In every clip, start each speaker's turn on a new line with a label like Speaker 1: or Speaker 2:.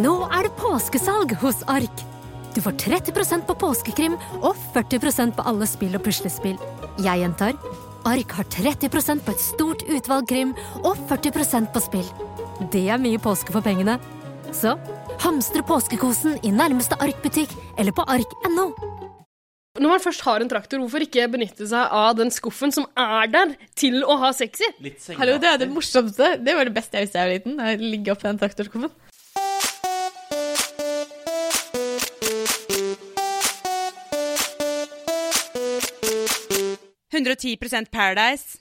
Speaker 1: Nå er det påskesalg hos Ark. Du får 30 på påskekrim og 40 på alle spill og puslespill. Jeg gjentar Ark har 30 på et stort utvalg krim og 40 på spill. Det er mye påske for pengene. Så hamstre påskekosen i nærmeste Ark-butikk eller på ark.no.
Speaker 2: Når man først har en traktor, hvorfor ikke benytte seg av den skuffen som er der, til å ha sex i?
Speaker 3: Litt sengeaktig.
Speaker 4: Hallo, det er det morsomste. Det var det beste jeg visste da jeg var liten. å Ligge oppi den traktorskuffen.
Speaker 5: Paradise.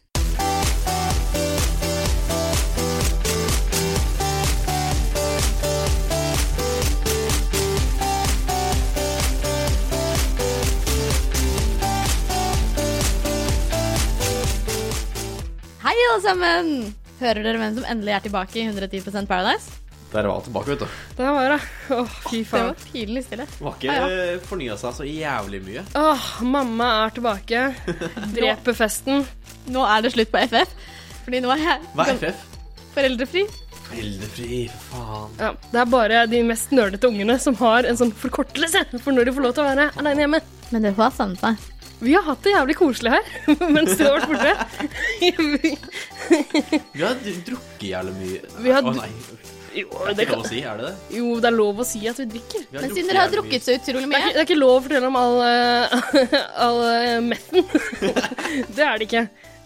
Speaker 4: Hei, alle sammen! Hører dere hvem som endelig er tilbake i 110 Paradise?
Speaker 3: Der var hun tilbake, vet du.
Speaker 2: Der var det. Å, fy
Speaker 4: Det
Speaker 2: faen.
Speaker 4: var pinlig stille.
Speaker 3: Hun har ikke
Speaker 4: Ah, ja.
Speaker 3: eh, fornya seg så jævlig mye.
Speaker 2: Åh, mamma er tilbake. Dreper festen.
Speaker 4: Nå er det slutt på FF. Fordi nå er jeg
Speaker 3: Hva er
Speaker 4: gam-
Speaker 3: FF?
Speaker 4: foreldrefri.
Speaker 3: Foreldrefri, for faen.
Speaker 2: Ja, det er bare de mest nerdete ungene som har en sånn forkortelse for når de får lov til å være aleine hjemme.
Speaker 4: Men dere har savnet meg.
Speaker 2: Vi har hatt det jævlig koselig her mens du har vært borte.
Speaker 3: Vi har d- drukket jævlig mye.
Speaker 2: Vi har
Speaker 3: Å
Speaker 2: dr-
Speaker 3: nei,
Speaker 2: jo, det
Speaker 3: det er ikke
Speaker 2: kan,
Speaker 3: lov å si, er det det?
Speaker 2: jo, det er lov å si at vi drikker.
Speaker 3: Vi
Speaker 4: Men siden dere har
Speaker 3: jævlig mye.
Speaker 4: drukket så
Speaker 2: Det er,
Speaker 4: utrolig
Speaker 2: ikke,
Speaker 4: mye
Speaker 2: det er ikke lov å fortelle om all, uh, all eh, metten. det er det ikke.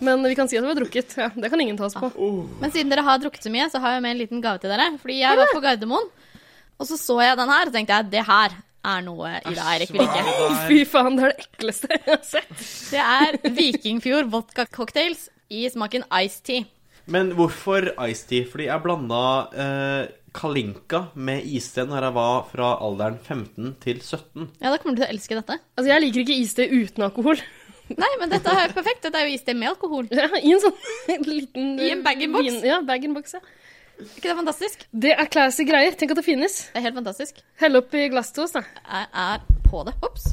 Speaker 2: Men vi kan si at vi har drukket. Ja, det kan ingen ta
Speaker 3: Ah,
Speaker 2: oss på.
Speaker 3: oh,
Speaker 4: Men siden dere har drukket så mye, så har jeg med en liten gave til dere. Fordi jeg var på Gardermoen, og så så jeg den her, og tenkte jeg det her er noe Ida og Eirik vil like.
Speaker 3: Nei.
Speaker 2: Fy faen, det er det ekleste jeg har sett.
Speaker 4: Det er Vikingfjord vodka cocktails i smaken iced tea.
Speaker 3: Men hvorfor iced tea? Fordi jeg blanda eh, Kalinka med iste når jeg var fra alderen 15 til 17.
Speaker 4: Ja, da kommer du til å elske dette.
Speaker 2: Altså, jeg liker ikke iste uten alkohol.
Speaker 4: Nei, men dette er jo perfekt. Dette er jo iste med alkohol.
Speaker 2: Ja, I en sånn liten
Speaker 4: I en bag-in-box?
Speaker 2: vin- Ja, bag-in-box, ja.
Speaker 4: Er ikke det fantastisk?
Speaker 2: Det er classy greier. Tenk at det finnes.
Speaker 4: Det er helt fantastisk.
Speaker 2: Hell opp i glass til oss, da.
Speaker 4: Jeg er på det. Ops.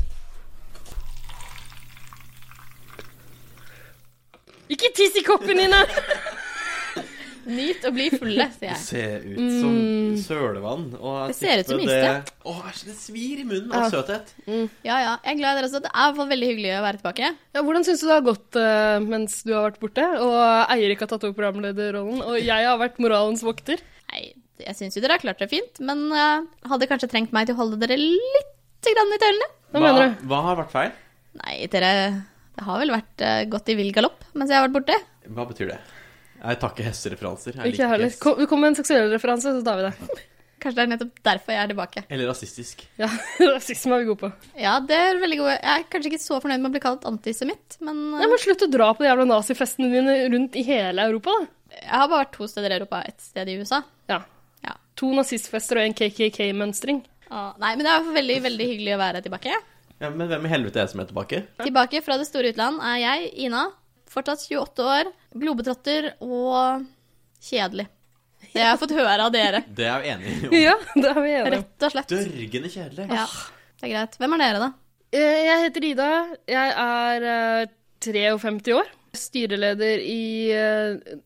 Speaker 2: Ikke tiss i koppen, Nina!
Speaker 4: Nyt å bli fulle, sier jeg.
Speaker 3: Ser ut som sølevann. Og jeg
Speaker 4: Mm. Det ser ut som
Speaker 3: tipper
Speaker 4: iste.
Speaker 3: det- Å, æsj, det svir i munnen av søthet.
Speaker 4: Ja, ja. Jeg er glad i dere også. Det er i hvert fall veldig hyggelig å være tilbake.
Speaker 2: Ja, hvordan syns du det har gått eh, mens du har vært borte, og Eirik har tatt over programlederrollen, og jeg har vært moralens vokter?
Speaker 4: Nei, jeg syns jo dere har klart dere fint, men eh, hadde kanskje trengt meg til å holde dere litt grann i tøylene.
Speaker 2: Hva mener du?
Speaker 3: hva har vært feil?
Speaker 4: Nei, dere Det har vel vært eh, gått i vill galopp mens jeg har vært borte.
Speaker 3: Hva betyr det? Jeg tar ikke hestereferanser. Jeg
Speaker 2: Ikke jeg heller.
Speaker 3: hest.
Speaker 2: Kom, kom med en seksuell referanse, så tar vi det.
Speaker 4: Kanskje det er nettopp derfor jeg er tilbake.
Speaker 3: Eller rasistisk.
Speaker 2: Ja, Rasisme er vi gode på.
Speaker 4: Ja, det er veldig gode. Jeg er kanskje ikke så fornøyd med å bli kalt antisemitt, men eh,
Speaker 2: Nei, men Slutt å dra på de jævla nazifestene dine rundt i hele Europa, da.
Speaker 4: jeg har bare vært to steder i Europa, ett sted i USA.
Speaker 2: Ja.
Speaker 4: Ja.
Speaker 2: To nazistfester og en KKK-mønstring.
Speaker 4: Ah, Nei, men det er veldig, veldig hyggelig å være tilbake.
Speaker 3: Ja, men hvem i helvete er det som er tilbake?
Speaker 4: Tilbake fra det store utland er jeg, Ina, fortsatt 28 år, globetrotter og kjedelig. Det har jeg fått høre av dere,
Speaker 3: Det er jeg jo enig i.
Speaker 2: Ja, det er vi enige om.
Speaker 4: rett og slett.
Speaker 3: Dørgende kjedelig.
Speaker 4: Ja, det er greit. Hvem er dere, da?
Speaker 2: Eh, Jeg heter Ida. Jeg er eh, 53 år. Styreleder i eh,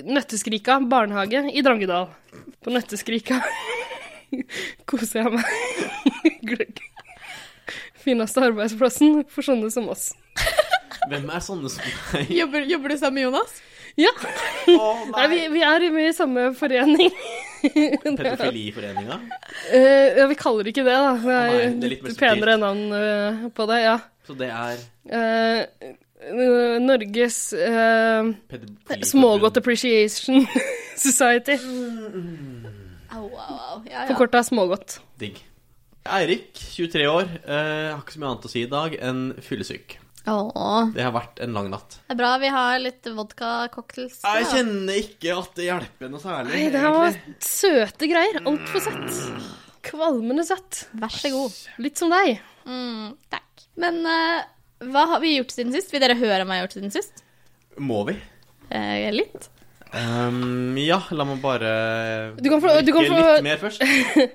Speaker 2: Nøtteskrika barnehage i Drangedal. På Nøtteskrika koser jeg meg. Gløgg. Fineste arbeidsplassen for sånne som oss.
Speaker 3: Hvem er sånne som meg?
Speaker 4: Jobber, du sammen med Jonas?
Speaker 2: Ja,
Speaker 3: Å,
Speaker 2: Nei, vi, vi er med i samme forening.
Speaker 3: Pedofiliforeninga?
Speaker 2: Eh, ja, vi kaller det ikke det, da. Det er,
Speaker 3: Å nei, det er litt
Speaker 2: litt,
Speaker 3: mer subtilt.
Speaker 2: penere navn eh, på det, ja.
Speaker 3: Så det er
Speaker 2: Eh, eh, Norges eh,
Speaker 3: pedofili-
Speaker 2: Smågodt Appreciation Society.
Speaker 4: Au, au, au. Ja, ja.
Speaker 2: Forkorta smågodt.
Speaker 3: Digg. Eirik, 23 år. eh, har ikke så mye annet å si i dag enn fyllesyk.
Speaker 4: Åh,
Speaker 3: Det har vært en lang natt.
Speaker 4: det er bra vi har litt vodka-cocktails. da.
Speaker 3: Jeg kjenner ikke at det hjelper noe særlig.
Speaker 2: Nei, det her var søte greier. Altfor søtt. Kvalmende søtt.
Speaker 4: Vær så god.
Speaker 2: Litt som deg.
Speaker 4: Mm, takk. Men eh, hva har vi gjort siden sist? Vil dere høre hva jeg har gjort siden sist?
Speaker 3: Må vi?
Speaker 4: Eh, litt.
Speaker 3: Ehm, ja, la meg bare
Speaker 2: Du kan få- du kan
Speaker 3: drikke
Speaker 2: få-
Speaker 3: litt mer først.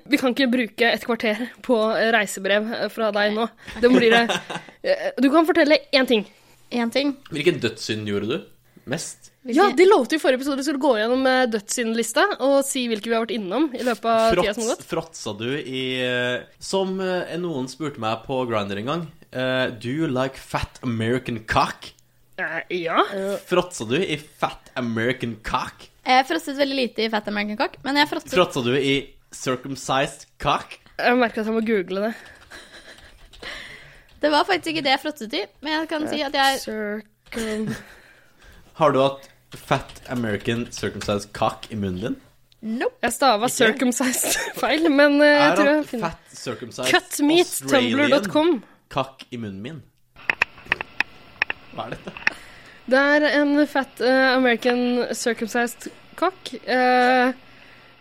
Speaker 2: Vi kan ikke bruke et kvarter på reisebrev eh, fra deg nå. Det blir det. Eh, Du kan fortelle én ting.
Speaker 4: Én ting.
Speaker 3: Hvilken dødssynd gjorde du? Mest.
Speaker 2: Ja, de lovte i forrige episode at vi skulle gå gjennom eh, dødssyndlista og si hvilke vi har vært innom i løpet av tida som har
Speaker 3: Fråts,
Speaker 2: gått.
Speaker 3: fråtsa du i eh, Som eh, noen spurte meg på Grinder en gang. eh, do you like fat American cock?
Speaker 2: Eh, ja.
Speaker 3: Fråtsa du i fat American cock?
Speaker 4: Jeg frosset veldig lite i Fat American Cock, men jeg frosset
Speaker 3: Fråtsa du i circumcised cock?
Speaker 2: Jeg merker at jeg må google det.
Speaker 4: Det var faktisk ikke det jeg frosset i, men jeg kan si at jeg
Speaker 2: Circum...
Speaker 3: Har du hatt fat American circumcised cock i munnen din?
Speaker 4: Nope.
Speaker 2: Jeg stava
Speaker 3: Ikke?
Speaker 2: 'circumcised' feil, men eh, jeg tror jeg
Speaker 3: hatt
Speaker 2: finner
Speaker 3: fat circumcised Australian
Speaker 2: Cutmeattumbler.com.
Speaker 3: cock i munnen min? Hva er dette?
Speaker 2: Det er en fat eh, American circumcised cock eh,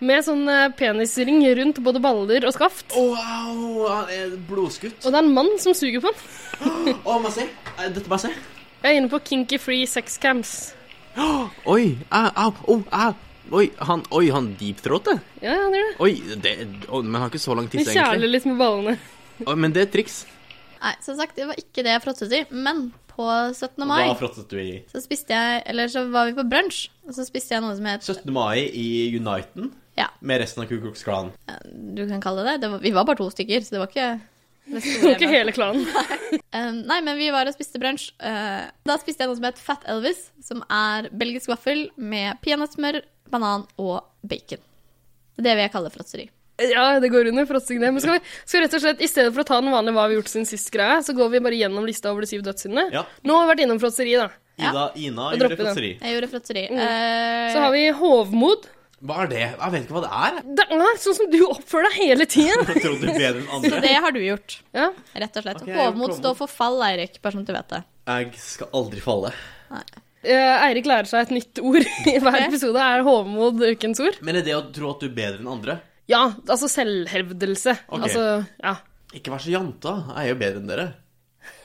Speaker 2: med sånn eh, penisring rundt både baller og skaft.
Speaker 3: Wow, han er blodskutt.
Speaker 2: Og det er en mann som suger på den.
Speaker 3: Å, må jeg se. Eh, Dette må jeg se.
Speaker 2: Jeg er inne på Kinky Free Sex Camps.
Speaker 3: Oi, au, au, au, au. Oi, han, oi, han deepthroatet.
Speaker 2: Ja, ja, det er det.
Speaker 3: Oi, det, å, men han har ikke så lang
Speaker 2: De
Speaker 3: tiss,
Speaker 2: kjæler
Speaker 3: egentlig.
Speaker 2: litt med ballene.
Speaker 3: Å, men det er et triks.
Speaker 4: Nei, som sagt, det var ikke det jeg frosset i, men på 17. mai
Speaker 3: Hva fråtset du i?
Speaker 4: så spiste jeg Eller så var vi på brunsj, og så spiste jeg noe som het
Speaker 3: 17. mai i Uniten
Speaker 4: Ja,
Speaker 3: med resten av Ku Klux Klan.
Speaker 4: du kan kalle det det. det var, vi var bare to stykker, så det var ikke det store
Speaker 2: Det var ikke
Speaker 4: event.
Speaker 2: hele klanen.
Speaker 4: Eh, nei, men vi var og spiste brunsj. eh, da spiste jeg noe som het Fat Elvis, som er belgisk vaffel med peanøttsmør, banan og bacon. Det vil jeg kalle fråtseri.
Speaker 2: Ja, det går under fråtsing, det. Men skal vi skal vi rett og slett, i stedet for å ta den vanlige hva vi har gjort siden sist-greia, så går vi bare gjennom lista over de syv dødssyndene.
Speaker 3: Ja.
Speaker 2: Nå har vi vært innom fråtseri, da.
Speaker 4: Ja.
Speaker 3: Ida, Ina
Speaker 2: Da
Speaker 3: gjorde
Speaker 2: dropper vi den.
Speaker 3: fråtseri.
Speaker 4: Jeg gjorde fråtseri.
Speaker 2: Mm.
Speaker 4: Eh,
Speaker 2: Så har vi hovmod.
Speaker 3: Hva er det? Jeg vet ikke hva det er.
Speaker 2: Det er sånn som du oppfører deg hele tiden.
Speaker 3: Jeg trodde bedre enn
Speaker 4: så
Speaker 3: andre.
Speaker 4: det har du gjort,
Speaker 2: Ja.
Speaker 4: rett og
Speaker 3: Ok,
Speaker 4: slett.
Speaker 3: jeg gjorde
Speaker 4: Hovmod
Speaker 3: hovmod.
Speaker 4: står for fall, Eirik, bare som du vet det.
Speaker 3: Jeg skal aldri falle.
Speaker 2: Eh, Eirik lærer seg et nytt ord i hver episode. Er hovmod ukens ord?
Speaker 3: Men er det å tro at du er bedre enn andre?
Speaker 2: Ja, altså selvhevdelse.
Speaker 3: Ok.
Speaker 2: Altså, ja.
Speaker 3: Ikke vær så janta. Jeg er jo bedre enn dere.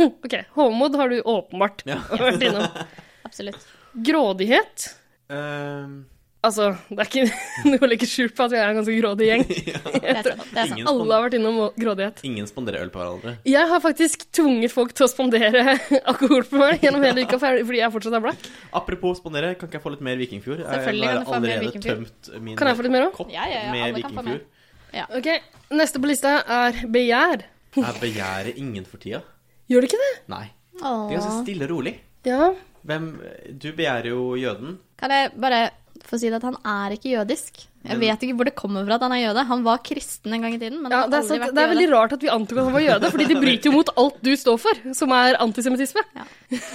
Speaker 2: OK. Hovmod har du åpenbart
Speaker 3: Ja.
Speaker 2: vært innom.
Speaker 4: Absolutt.
Speaker 2: Grådighet.
Speaker 3: Ehm,
Speaker 2: Altså, det er ikke noe å legge skjul på at vi er en ganske grådig gjeng.
Speaker 4: Det er sant. Det er sant.
Speaker 3: ingen,
Speaker 2: Alle
Speaker 3: spon
Speaker 2: har vært innom grådighet.
Speaker 3: ingen spanderer øl på hverandre.
Speaker 2: Jeg har faktisk tvunget folk til å spandere alkohol på meg gjennom hele uka for- fordi jeg fortsatt er blakk.
Speaker 3: Apropos spandere, kan ikke jeg få litt mer Vikingfjord? Jeg
Speaker 4: Selvfølgelig
Speaker 3: har
Speaker 4: kan du få mer
Speaker 3: allerede
Speaker 4: Vikingfjord.
Speaker 3: tømt min
Speaker 2: Kan jeg få litt mer òg?
Speaker 3: kopp
Speaker 4: Ja, ja, ja,
Speaker 3: med
Speaker 4: alle kan få mer.
Speaker 3: Vikingfjord.
Speaker 2: Ok, Neste på lista er begjær.
Speaker 3: Jeg begjærer ingen for tida.
Speaker 2: Gjør det ikke det?
Speaker 3: Nei. Det er ganske
Speaker 4: Åh.
Speaker 3: stille og rolig.
Speaker 2: Ja.
Speaker 3: Hvem Du begjærer jo jøden.
Speaker 4: Kan jeg bare få si det at han er ikke jødisk? Jeg
Speaker 3: Men-
Speaker 4: vet ikke hvor det kommer fra at han er jøde. Han var kristen en gang i tiden, men
Speaker 2: ja
Speaker 4: han
Speaker 2: det,
Speaker 4: har
Speaker 2: er
Speaker 4: aldri
Speaker 2: sant.
Speaker 4: vært
Speaker 2: det er
Speaker 4: jøde.
Speaker 2: veldig rart at vi antok at han var jøde, fordi det bryter jo mot alt du står for, som er antisemittisme.
Speaker 4: Ja.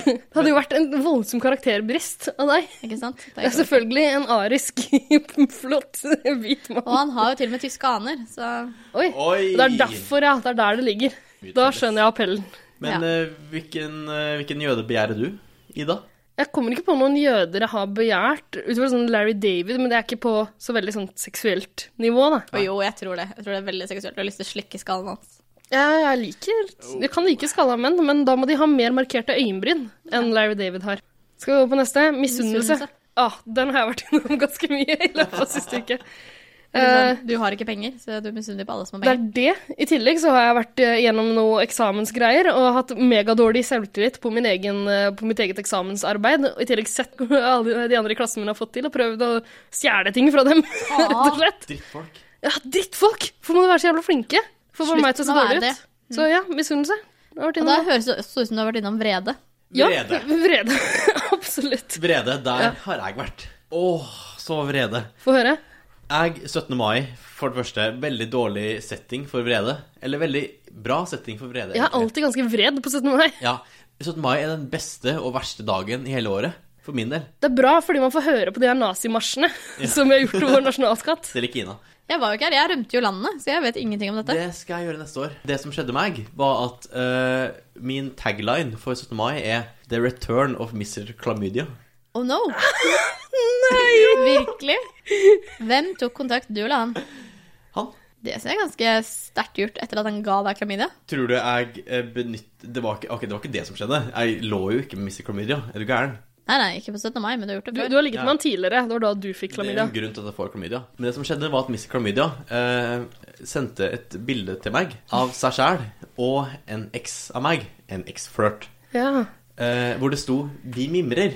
Speaker 2: Det hadde jo vært en voldsom karakterbrist av deg.
Speaker 4: Ikke sant? Det
Speaker 2: Det
Speaker 4: er
Speaker 2: er selvfølgelig en arisk, flott hvit
Speaker 4: Og
Speaker 2: mann.
Speaker 4: han har jo til og med tyske aner, så
Speaker 2: Oi.
Speaker 3: Oi!
Speaker 2: Det er derfor, ja. Det er der det ligger. Da skjønner jeg appellen.
Speaker 3: Men
Speaker 4: Ja.
Speaker 3: eh, hvilken, eh, hvilken jøde begjærer du, Ida?
Speaker 2: Jeg kommer ikke på noen jøder jeg har begjært, utover sånn Larry David, men det er ikke på så veldig sånn seksuelt nivå, da.
Speaker 4: Og jo, jeg tror det. Jeg tror det er veldig seksuelt. Jeg har lyst til å slikke skallen hans.
Speaker 2: Jeg, jeg liker Jeg kan like skalla menn, men da må de ha mer markerte øyenbryn enn Larry David har. Skal vi over på neste? Misunnelse.
Speaker 4: Misunnelse.
Speaker 2: Ah, den har jeg vært innom ganske mye i løpet av siste uke. Eh,
Speaker 4: Liksom, du har ikke penger, så du misunner på alle som har
Speaker 2: det er
Speaker 4: penger.
Speaker 2: det. I tillegg så har jeg vært eh, gjennom noe eksamensgreier og hatt megadårlig selvtillit på, min egen, eh, på mitt eget eksamensarbeid. Og i tillegg sett hva alle de andre i klassen min har fått til, og prøvd å stjele ting fra dem, rett og slett.
Speaker 3: Drittfolk.
Speaker 2: Ja, drittfolk! Hvorfor må du være så jævla flinke? For å få
Speaker 4: Slutt
Speaker 2: meg til å se
Speaker 4: med å være
Speaker 2: dårlig
Speaker 4: det.
Speaker 2: ut. Så ja, misunnelse. Det har vært
Speaker 4: Og da
Speaker 2: innom det.
Speaker 4: høres det også ut som du har vært innom vrede.
Speaker 2: Ja,
Speaker 3: Vrede.
Speaker 2: vrede. Absolutt.
Speaker 3: Vrede, der
Speaker 2: Ja.
Speaker 3: har jeg vært. Åh, så vrede.
Speaker 2: Få høre.
Speaker 3: Jeg, 17. mai, for det første, veldig dårlig setting for vrede. Eller veldig bra setting for vrede.
Speaker 2: Jeg er
Speaker 3: egentlig.
Speaker 2: alltid ganske vred på 17. mai.
Speaker 3: Ja, 17. mai er den beste og verste dagen i hele året. For min del.
Speaker 2: Det er bra fordi man får høre på de her nazimarsjene som vi har gjort til vår nasjonalskatt.
Speaker 3: Til ikke Ina.
Speaker 4: Jeg var jo ikke her, jeg rømte jo landet, så jeg vet ingenting om dette.
Speaker 3: Det skal jeg gjøre neste år. Det som skjedde meg, var at eh, min tagline for 17. mai er The return of Mr. Chlamydia.
Speaker 4: Oh no! Virkelig? Hvem tok kontakt, du eller han?
Speaker 3: Han.
Speaker 4: Det ser jeg ganske sterkt gjort etter at han ga deg klamydia.
Speaker 3: Tror du jeg eh, benytt... Det var, ikke, ok, det var ikke det som skjedde. Jeg lå jo ikke med Mr. Chlamydia. Er du gæren?
Speaker 4: Nei, nei, ikke på 17. mai, men du har gjort det
Speaker 2: Du,
Speaker 4: før.
Speaker 2: du har ligget
Speaker 3: Ja.
Speaker 2: med han tidligere. Det var da du fikk
Speaker 3: Det er jo
Speaker 2: klamydia.
Speaker 3: en grunn til at jeg får klamydia. Men det som skjedde, var at Miss Klamydia eh, sendte et bilde til meg av seg sjæl og en eks av meg. En eksflørt.
Speaker 2: Ja.
Speaker 3: Eh, hvor det sto 'De mimrer'.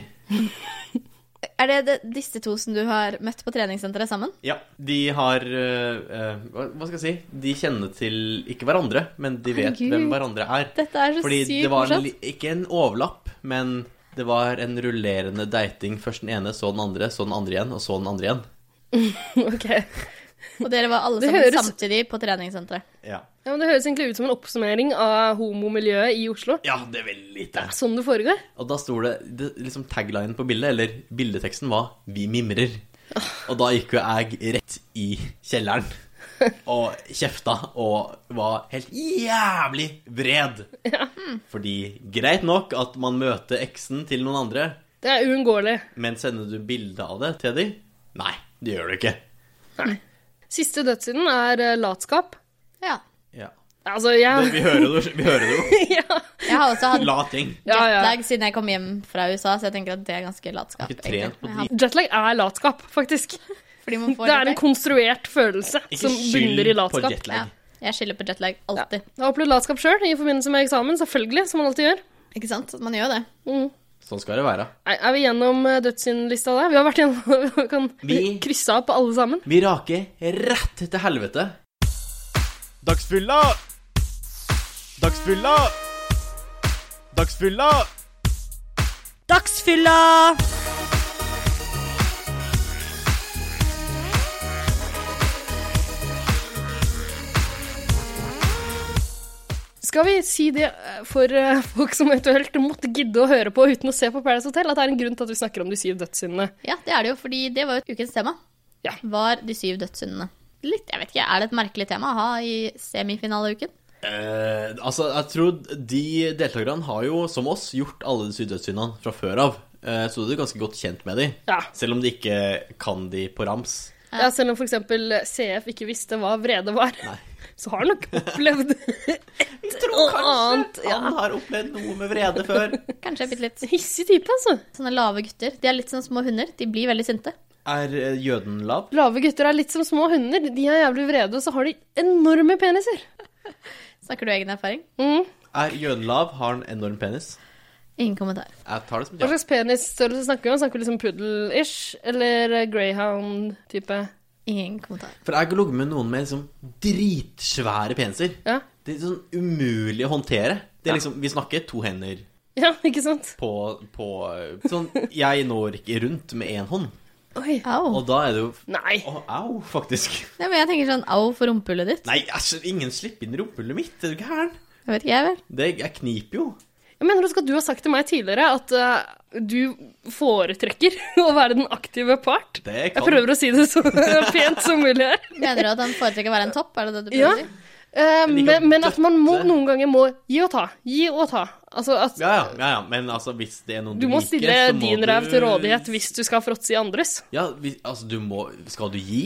Speaker 4: Er det, det disse to som du har møtt på treningssenteret sammen?
Speaker 3: Ja, de har eh, eh, Hva hva skal jeg si? De kjenner til ikke hverandre, men de vet
Speaker 4: Herregud.
Speaker 3: hvem hverandre er.
Speaker 4: Dette er så
Speaker 3: Fordi
Speaker 4: sykt
Speaker 3: det var en,
Speaker 4: morsomt.
Speaker 3: li- ikke en overlapp, men det var en rullerende dating. Først den ene, så den andre, så den andre igjen, og så den andre igjen.
Speaker 2: Ok.
Speaker 4: Og dere var alle
Speaker 2: Det
Speaker 4: sammen
Speaker 2: høres-
Speaker 4: samtidig på treningssenteret.
Speaker 3: Ja,
Speaker 2: Ja, men det høres egentlig ut som en oppsummering av homomiljøet i Oslo.
Speaker 3: ja det er veldig lite.
Speaker 2: Sånn det foregår.
Speaker 3: Og da sto det, det liksom taglinen på bildet, eller bildeteksten, var 'Vi mimrer'. Og da gikk jo jeg rett i kjelleren og kjefta og var helt jævlig vred. Fordi greit nok at man møter eksen til noen andre,
Speaker 2: Det er uunngåelig.
Speaker 3: men sender du bilde av det til de? Nei, det gjør du ikke.
Speaker 2: Siste dødssynden er eh, latskap.
Speaker 4: Ja.
Speaker 3: Ja.
Speaker 2: Altså,
Speaker 3: Det,
Speaker 2: jeg
Speaker 3: vi hører det jo. Vi hører det jo.
Speaker 2: ja.
Speaker 4: Jeg har også hatt
Speaker 3: Lating.
Speaker 2: Ja, ja.
Speaker 4: jetlag siden jeg kom hjem fra USA, så jeg tenker at det er ganske latskap.
Speaker 3: Ikke trent på
Speaker 4: egentlig. Ja,
Speaker 3: drit.
Speaker 2: Jetlag er latskap, faktisk.
Speaker 4: Fordi man får
Speaker 2: Det er en
Speaker 4: jetlag.
Speaker 2: konstruert følelse
Speaker 3: Ikke
Speaker 2: som bunner i
Speaker 3: skyld på
Speaker 2: latskap.
Speaker 4: Ja,
Speaker 3: jetlag.
Speaker 4: jeg skylder på jetlag alltid.
Speaker 2: Jeg har opplevd latskap sjøl i forbindelse med eksamen, selvfølgelig, som man alltid gjør.
Speaker 4: Ikke sant? Man gjør jo det.
Speaker 2: Mm.
Speaker 3: Sånn skal det være.
Speaker 2: Nei, Er vi gjennom eh, dødssyndlista der? Vi har vært gjennom Vi kan
Speaker 3: Vi-
Speaker 2: krysse av på alle sammen.
Speaker 3: Vi raker rett til helvete.
Speaker 6: Dagsfylla! Dagsfylla! Dagsfylla!
Speaker 5: Dagsfylla!
Speaker 2: Skal vi si det eh, for eh, folk som eventuelt måtte gidde å høre på uten å se på Paradise Hotel, at det er en grunn til at vi snakker om de syv dødssyndene?
Speaker 4: Ja, det er det jo, fordi det var jo ukens tema.
Speaker 2: Ja.
Speaker 4: Var de syv dødssyndene. Litt, jeg vet ikke, Er det et merkelig tema å ha i semifinaleuken?
Speaker 3: Eh, altså, jeg tror de deltakerne har jo, som oss, gjort alle de sydøstsyndene fra før av. Eh, så du er ganske godt kjent med de.
Speaker 2: Ja.
Speaker 3: Selv om de ikke kan de på rams.
Speaker 2: Ja, selv om f.eks. CF ikke visste hva vrede var, så har han nok opplevd et og annet. Ja.
Speaker 3: Han har opplevd noe med vrede før.
Speaker 4: Kanskje bitte litt.
Speaker 2: Hissig type, altså.
Speaker 4: Sånne lave gutter. De er litt som små hunder. De blir veldig sinte.
Speaker 3: Er eh, jøden lav?
Speaker 2: Lave gutter er litt som små hunder. De er jævlig vrede, og så har de enorme peniser.
Speaker 4: Snakker du av egen erfaring?
Speaker 2: Mm.
Speaker 3: Er jøden lav, har han enorm penis?
Speaker 4: Ingen kommentar.
Speaker 3: Jeg tar det som et
Speaker 2: Hva
Speaker 3: ja.
Speaker 2: slags penisstørrelse snakker vi om? Snakker vi liksom puddel-ish? Eller eh, greyhound-type?
Speaker 4: Ingen kommentar.
Speaker 3: For jeg har ligget med noen med liksom dritsvære peniser.
Speaker 2: Ja.
Speaker 3: Det er sånn umulig å håndtere. Det er liksom, Vi snakker to hender
Speaker 2: ja, ikke sant?
Speaker 3: på, på Sånn, jeg når ikke rundt med én hånd.
Speaker 2: Oi.
Speaker 4: Au.
Speaker 3: Og da er det jo
Speaker 2: Nei.
Speaker 3: Å, au, faktisk.
Speaker 4: Nei, men jeg tenker sånn au for rumpehullet ditt.
Speaker 3: Nei, æsj, ingen slipper inn i rumpehullet mitt, er du gæren?
Speaker 4: Jeg vet ikke, jeg vel.
Speaker 3: Det, jeg kniper jo.
Speaker 2: Jeg mener også at du har sagt til meg tidligere at eh, du foretrekker å være den aktive part.
Speaker 3: Det
Speaker 2: Jeg
Speaker 3: kan
Speaker 2: prøver å si det så pent som mulig her.
Speaker 4: Mener du at han foretrekker å være en topp? Er det det du prøver
Speaker 2: Ja.
Speaker 4: å si?
Speaker 2: Eh, men,
Speaker 3: liker å
Speaker 2: men at man må,
Speaker 3: døtte.
Speaker 2: noen ganger må gi og ta. Gi og ta. Altså at
Speaker 3: ja, ja, ja, ja, men altså, hvis det er noen
Speaker 2: du må
Speaker 3: liker,
Speaker 2: stille
Speaker 3: så må
Speaker 2: din
Speaker 3: du-
Speaker 2: ræv til rådighet hvis du skal fråtse i andres.
Speaker 3: Ja, hvis, altså, du må Skal du gi,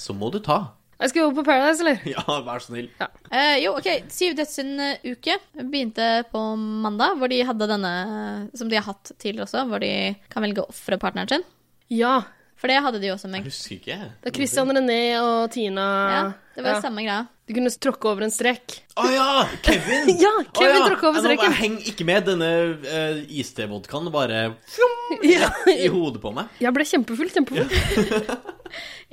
Speaker 3: så må du ta.
Speaker 2: Jeg skal jobbe på Paradise, eller?
Speaker 3: Ja, vær så snill.
Speaker 4: Eh, jo, ok, Syv dødssynd-uke begynte på mandag, hvor de hadde denne eh, som de har hatt tidligere også, hvor de kan velge å ofre partneren sin.
Speaker 2: Ja.
Speaker 4: For det hadde de jo også med.
Speaker 3: Jeg husker ikke.
Speaker 2: Det er Christian René og Tina
Speaker 4: Ja, det var
Speaker 2: Ja.
Speaker 4: jo samme greia.
Speaker 2: Du kunne tråkke over en strek.
Speaker 3: Å ja, Kevin!
Speaker 2: Ja, Kevin
Speaker 3: Å, ja.
Speaker 2: tråkket over
Speaker 3: Ja, nå bare
Speaker 2: streken.
Speaker 3: Heng ikke med. Denne uh, iste-vodkaen bare
Speaker 2: Ja.
Speaker 3: i hodet på meg.
Speaker 2: Jeg ble kjempefull, kjempefull.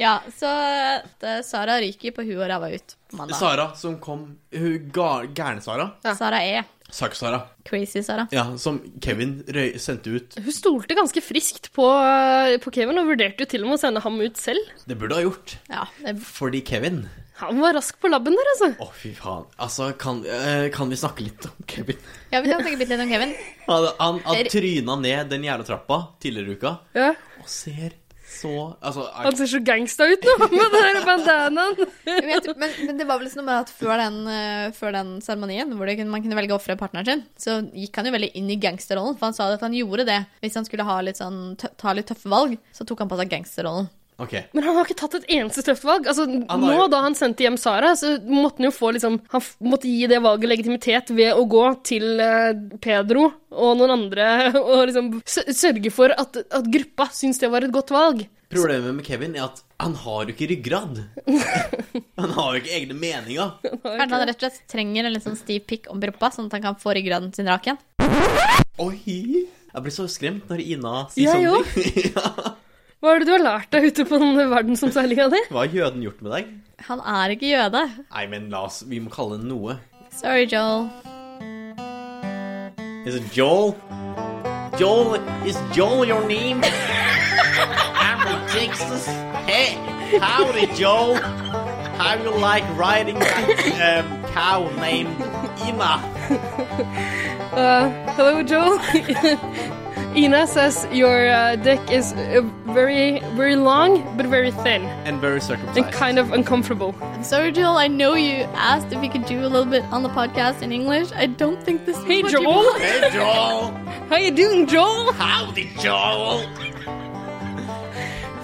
Speaker 4: Ja, så eh, Sara ryker på huet og ræva ut på mandag.
Speaker 3: Sara som kom Hun ga- gærne-Sara.
Speaker 2: Ja.
Speaker 4: Sara E.
Speaker 3: Sak-Sara.
Speaker 4: Crazy Sara.
Speaker 3: Ja, som Kevin røy, sendte ut.
Speaker 2: Hun stolte ganske friskt på, eh, på Kevin og vurderte jo til og med å sende ham ut selv.
Speaker 3: Det burde ha gjort.
Speaker 4: Ja, det,
Speaker 3: Fordi Kevin
Speaker 2: Han var rask på labben der, altså.
Speaker 3: Å, fy faen. Altså, kan, eh, kan vi snakke litt om Kevin?
Speaker 4: ja vi kan snakke bitte litt om Kevin.
Speaker 3: Han, han, han tryna ned den jævla trappa tidligere i uka
Speaker 2: Ja.
Speaker 3: og ser så Altså,
Speaker 2: Han ser så gangsta ut nå med den der bandanaen.
Speaker 4: Men, jeg tror- men, men det var vel sånn med at før den, eh, før den seremonien, hvor det kunne, man kunne velge å ofre partneren sin, så gikk han jo veldig inn i gangsterrollen. For han sa at han gjorde det hvis han skulle ha litt sånn, tø- ta litt tøffe valg. Så tok han på seg gangsterrollen.
Speaker 3: OK.
Speaker 2: Men han har ikke tatt et eneste tøft valg. Altså,
Speaker 3: har
Speaker 2: nå
Speaker 3: jo-
Speaker 2: da han sendte hjem Sara, så måtte han jo få liksom Han f- måtte gi det valget legitimitet ved å gå til eh, Pedro og noen andre og liksom sø- sørge for at, at gruppa syns det var et godt valg.
Speaker 3: Problemet med Kevin er at han har jo ikke ryggrad. Han har jo ikke egne meninger.
Speaker 4: Kanskje han rett og slett trenger en litt sånn stiv pikk om rumpa, sånn at han kan få ryggraden sin rak igjen.
Speaker 3: Oi! Jeg blir så skremt når Ina sier
Speaker 2: Jeg
Speaker 3: sånne ting. ja.
Speaker 2: Hva er det du har lært deg ute på den verdensomseilinga di?
Speaker 3: Hva har jøden gjort med deg?
Speaker 4: Han er ikke jøde.
Speaker 3: Nei, men la oss Vi må kalle det noe.
Speaker 4: Sorry, Joel.
Speaker 3: Is it Joel? Joel, is Joel your name? I'm from Texas. Hey, howdy, Joel. How you like riding that um, cow named Ima?
Speaker 2: Uh, hello, Joel. Ina says your uh, dick is uh, very, very long, but very thin
Speaker 3: And very circumcised.
Speaker 2: and kind of uncomfortable.
Speaker 4: I'm sorry, Joel. I know you asked if you could do a little bit on the podcast in English. I don't think this is
Speaker 2: Hey,
Speaker 4: what you
Speaker 2: Joel.
Speaker 4: want.
Speaker 3: Hey, Joel.
Speaker 2: How you doing, Joel?
Speaker 3: Howdy, Joel.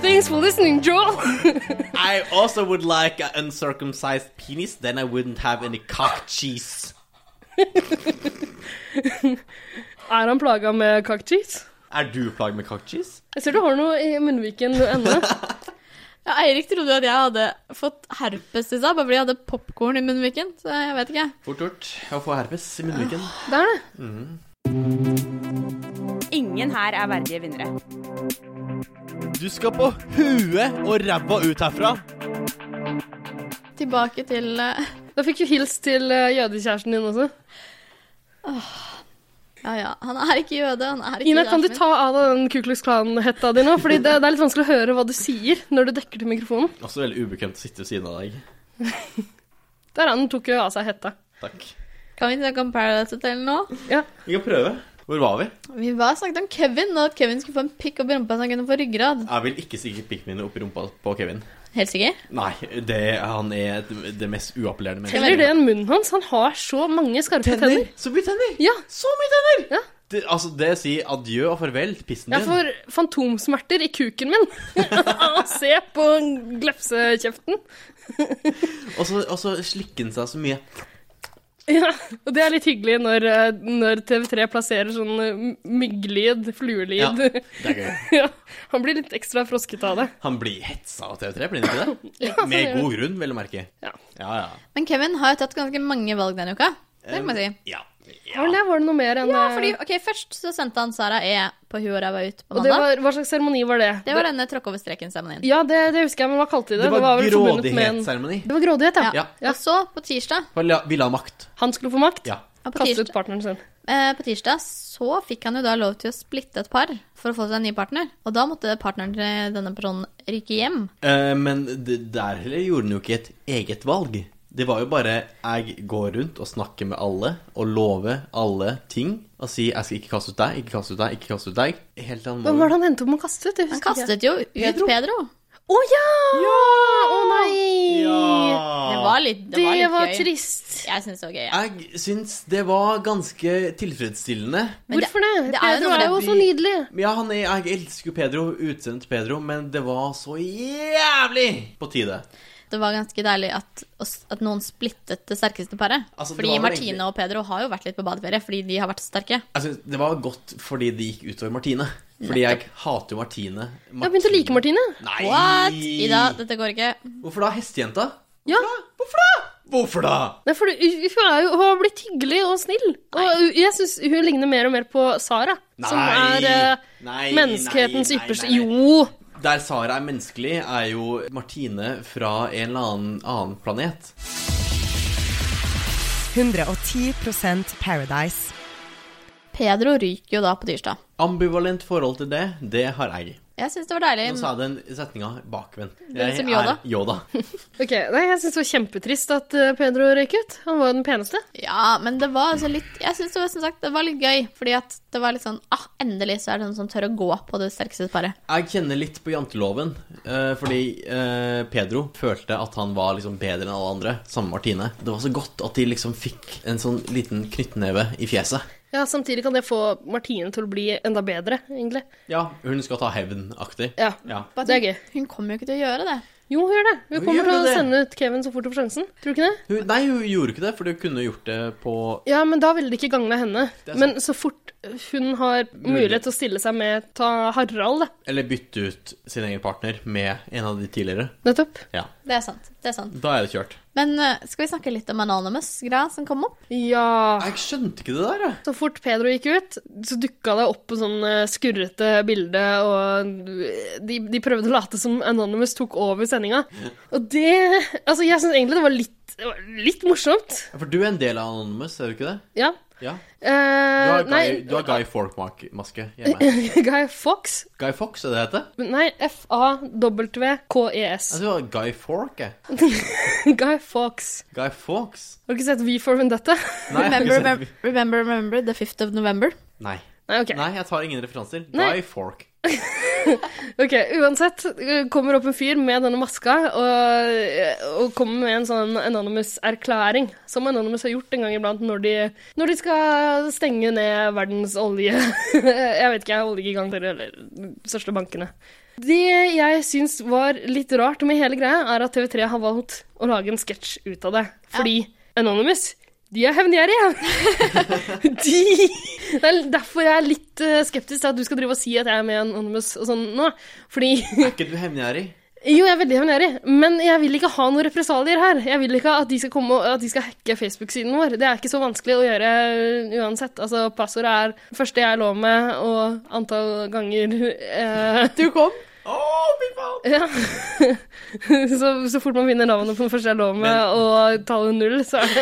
Speaker 2: Thanks for listening, Joel.
Speaker 3: I also would like an uncircumcised penis, then I wouldn't have any cock cheese.
Speaker 2: er han plaga med cockcheese?
Speaker 3: Er du plaget med cock cheese?
Speaker 2: Jeg ser du har noe i munnviken ennå.
Speaker 4: Ja, Eirik trodde jo at jeg hadde fått herpes i stad, bare fordi jeg hadde popkorn i munnviken. Så jeg vet ikke.
Speaker 3: Fort gjort å få herpes i munnviken.
Speaker 2: Der, det.
Speaker 5: Ingen her er verdige vinnere.
Speaker 6: Du skal på huet og ræva ut herfra.
Speaker 4: Tilbake til eh,
Speaker 2: Da fikk du hils til eh, jødekjæresten din også.
Speaker 4: Ja, ja. Han er ikke jøde. Han er ikke
Speaker 2: Ina, kan du
Speaker 4: jøden
Speaker 2: ta av deg den Ku Klux Klan-hetta di nå? Fordi det, det er litt vanskelig å høre hva du sier når du dekker til mikrofonen.
Speaker 3: Også veldig ubekvemt å sitte ved siden av deg.
Speaker 2: Der han tok jo av seg hetta.
Speaker 3: Takk.
Speaker 4: min. Kan vi snakke om Paradise Hotel nå?
Speaker 2: Ja.
Speaker 3: Vi kan prøve. Hvor var vi?
Speaker 4: Vi var snakket om Kevin, og at Kevin skulle få en pikk opp i rumpa så han kunne få ryggrad.
Speaker 3: Jeg vil ikke stikke pikken min opp i rumpa på Kevin.
Speaker 4: Helt sikker?
Speaker 3: Nei, det, han er et- det mest uappellerende
Speaker 2: Eller
Speaker 3: mennesket.
Speaker 2: det enn munnen hans. Han har så mange skarpe tenner.
Speaker 3: Så mye tenner!
Speaker 2: Ja.
Speaker 3: Så mye tenner!
Speaker 2: Ja.
Speaker 3: Det, altså, det sier adjø og farvel til pissen
Speaker 2: Jeg
Speaker 3: din.
Speaker 2: får fantomsmerter i kuken min av å se på glefsekjeften.
Speaker 3: Og så- Og så slikker han seg så mye.
Speaker 2: Ja, og det er litt hyggelig når, eh, når TV3 plasserer sånn eh, mygglyd, fluelyd.
Speaker 3: Ja.
Speaker 2: Ja.
Speaker 3: Det er gøy.
Speaker 2: Han blir litt ekstra frosket av det.
Speaker 3: Han blir hetsa av TV3, blir han ikke det?
Speaker 2: Ja, sånn
Speaker 3: Med
Speaker 2: gjør
Speaker 3: god grunn, vel å merke.
Speaker 2: Ja.
Speaker 3: Ja, ja.
Speaker 4: Men Kevin har jo tatt ganske mange valg denne uka. Det må jeg si.
Speaker 3: Ja.
Speaker 2: Var det det? Var det noe mer enn
Speaker 4: Ja,
Speaker 2: Um, eh,
Speaker 4: fordi, ok, Først så sendte han Sara E på huet og ræva ut på
Speaker 2: Og det
Speaker 4: mandag.
Speaker 2: var, hva slags seremoni var det?
Speaker 4: Det var denne tråkk over streken-seremonien.
Speaker 2: Ja, det, det husker jeg, men hva kalte de det?
Speaker 3: Det var,
Speaker 2: vel forbundet med en-
Speaker 3: grådighetsseremoni.
Speaker 2: Det var grådighet, ja.
Speaker 4: Ja. Og så, på tirsdag,
Speaker 3: For la- Vi la makt.
Speaker 2: Han skulle få makt.
Speaker 3: Ja.
Speaker 4: ja, på
Speaker 2: Kaste ut
Speaker 4: tirsdag,
Speaker 2: partneren sin.
Speaker 4: eh, på tirsdag så fikk han jo da lov til å splitte et par for å få seg en ny partner. Og da måtte partneren til denne personen rykke hjem.
Speaker 3: Eh, men det, der heller gjorde han jo ikke et eget valg. Det var jo bare 'jeg går rundt og snakker med alle' og lover alle ting. Og sier 'jeg skal ikke kaste ut deg, ikke kaste ut deg, ikke kaste ut deg'. Helt til han
Speaker 2: Hvem var
Speaker 3: må
Speaker 2: det han endte opp med å kaste ut? Jeg
Speaker 4: Han
Speaker 2: husker ikke.
Speaker 4: kastet jo ut Pedro.
Speaker 2: Å ja! Å nei!
Speaker 4: Det var litt, det
Speaker 2: Det
Speaker 4: var litt
Speaker 2: var
Speaker 4: gøy.
Speaker 2: trist.
Speaker 4: Jeg syns det var gøy. Ja.
Speaker 3: Jeg syns det var ganske tilfredsstillende.
Speaker 4: Men
Speaker 2: Hvorfor det?
Speaker 4: det er jo
Speaker 2: Pedro
Speaker 4: noe
Speaker 2: er
Speaker 4: med
Speaker 2: jo
Speaker 4: det-
Speaker 2: så nydelig.
Speaker 3: Ja, han er, jeg elsker jo Pedro, utseendet til Pedro, men det var så jævlig på tide.
Speaker 4: Det var ganske deilig at, at noen splittet det sterkeste paret.
Speaker 3: Altså, det
Speaker 4: fordi
Speaker 3: var vel
Speaker 4: Martine
Speaker 3: egentlig-
Speaker 4: og Pedro har jo vært litt på badeferie, fordi de har vært så
Speaker 3: Jeg
Speaker 4: sterke.
Speaker 3: synes Altså, Det var godt fordi det gikk utover Martine. Fordi jeg hater jo Martine.
Speaker 2: Jeg har begynt å like Martine.
Speaker 3: Nei!
Speaker 4: What? Ida, dette går ikke.
Speaker 3: Hvorfor da? Hestejenta?
Speaker 2: Ja.
Speaker 3: Hvorfor da? Hvorfor da?
Speaker 2: Nei, for hun hun er jo, hun har blitt hyggelig og snill. Og hun- jeg syns hun ligner mer og mer på Sara. som er eh,
Speaker 3: Nei,
Speaker 2: menneskehetens
Speaker 3: nei, nei,
Speaker 2: ypperste
Speaker 3: nei.
Speaker 2: Jo!
Speaker 3: Der Sara er menneskelig, er jo Martine fra en eller annen annen planet.
Speaker 5: 110 Paradise.
Speaker 4: Pedro ryker jo da på tirsdag.
Speaker 3: Ambivalent forhold til det, det har jeg.
Speaker 4: Jeg syns det var deilig.
Speaker 3: Nå sa jeg den setninga bakvendt.
Speaker 4: er som
Speaker 3: Er Yoda.
Speaker 2: Ok, nei, Jeg syns det var kjempetrist at eh, Pedro røyk ut. Han var jo den peneste.
Speaker 4: Ja, men det var altså litt Jeg syns det var som sagt det var litt gøy, fordi at det var litt sånn ah, endelig så er det noen som tør å gå på det sterkeste paret.
Speaker 3: Jeg kjenner litt på janteloven, eh, fordi eh, Pedro følte at han var liksom bedre enn alle andre, sammen med Martine. Det var så godt at de liksom fikk en sånn liten knyttneve i fjeset.
Speaker 2: Ja, Samtidig kan det få Martine til å bli enda bedre, egentlig.
Speaker 3: Ja, hun skal ta hevn-aktig.
Speaker 2: Ja,
Speaker 3: Ja.
Speaker 2: Det er gøy.
Speaker 4: Hun kommer jo ikke til å gjøre det.
Speaker 2: Jo, hun gjør det. Hun
Speaker 3: Hun
Speaker 2: kommer
Speaker 3: gjør
Speaker 2: til å
Speaker 3: det.
Speaker 2: sende ut Kevin så fort hun får sjansen. Tror du ikke det?
Speaker 3: Hun, nei, hun gjorde ikke det, for hun kunne gjort det på
Speaker 2: Ja, men da ville det ikke gagna henne.
Speaker 3: Det er sant.
Speaker 2: Men så fort hun har mulighet til å stille seg med ta Harald, da.
Speaker 3: Eller bytte ut sin egen partner med en av de tidligere.
Speaker 2: Nettopp.
Speaker 3: Ja,
Speaker 4: Det er sant. det er sant.
Speaker 3: Da er det kjørt.
Speaker 4: Men eh, skal vi snakke litt om Anonymous-greia som kom opp?
Speaker 2: Ja.
Speaker 3: Jeg skjønte ikke det der, jeg.
Speaker 2: Så fort Pedro gikk ut, så dukka det opp en sånn eh, skurrete bilde, og de, de prøvde å late som Anonymous tok over sendinga. Og det Altså, jeg syns egentlig det var litt, det var litt morsomt.
Speaker 3: For du er en del av Anonymous, er du ikke det?
Speaker 2: Ja.
Speaker 3: Ja. Du
Speaker 2: Eh,
Speaker 3: har Guy,
Speaker 2: nei,
Speaker 3: du har Guy Fork-maske hjemme.
Speaker 2: Guy Fox?
Speaker 3: Guy Fox, er det det heter?
Speaker 2: Nei, F-A-W-K-E-S.
Speaker 3: Jeg tror det var Guy Fork, jeg.
Speaker 2: E
Speaker 3: Altså-
Speaker 2: Guy Fox.
Speaker 3: Guy Fawkes.
Speaker 2: Har du ikke sett V for Vendetta?
Speaker 3: Nei, jeg har
Speaker 4: Remember,
Speaker 3: ikke sett-
Speaker 4: remember, remember, remember the 5th of November?
Speaker 3: Nei.
Speaker 2: Nei, ok.
Speaker 3: Nei, jeg tar ingen referanser.
Speaker 2: Nei.
Speaker 3: Guy Fork.
Speaker 2: Ok, Uansett eh, kommer opp en fyr med denne maska og, eh, og kommer med en sånn Anonymous-erklæring, som Anonymous har gjort en gang iblant når de, når de skal stenge ned verdens olje Jeg vet ikke, oljegiganter eller de største bankene. Det jeg syns var litt rart med hele greia, er at TV3 har valgt å lage en sketsj ut av det. Fordi Anonymous, de er hevngjerrige! De Det er derfor jeg er litt eh, skeptisk til at du skal drive og si at jeg er med i Anonymous og sånn nå. Fordi
Speaker 3: Er ikke du hevngjerrig?
Speaker 2: Jo, jeg er veldig hevngjerrig, men jeg vil ikke ha noen represalier her. Jeg vil ikke at de skal komme og at de skal hacke Facebook-siden vår. Det er ikke så vanskelig å gjøre uansett. Altså, passordet er det første jeg lå med, og antall ganger eh,
Speaker 4: Du kom?
Speaker 2: ja. så, så fort man finner navnet på den første jeg lå med,
Speaker 3: Men-
Speaker 2: og tallet null, så er det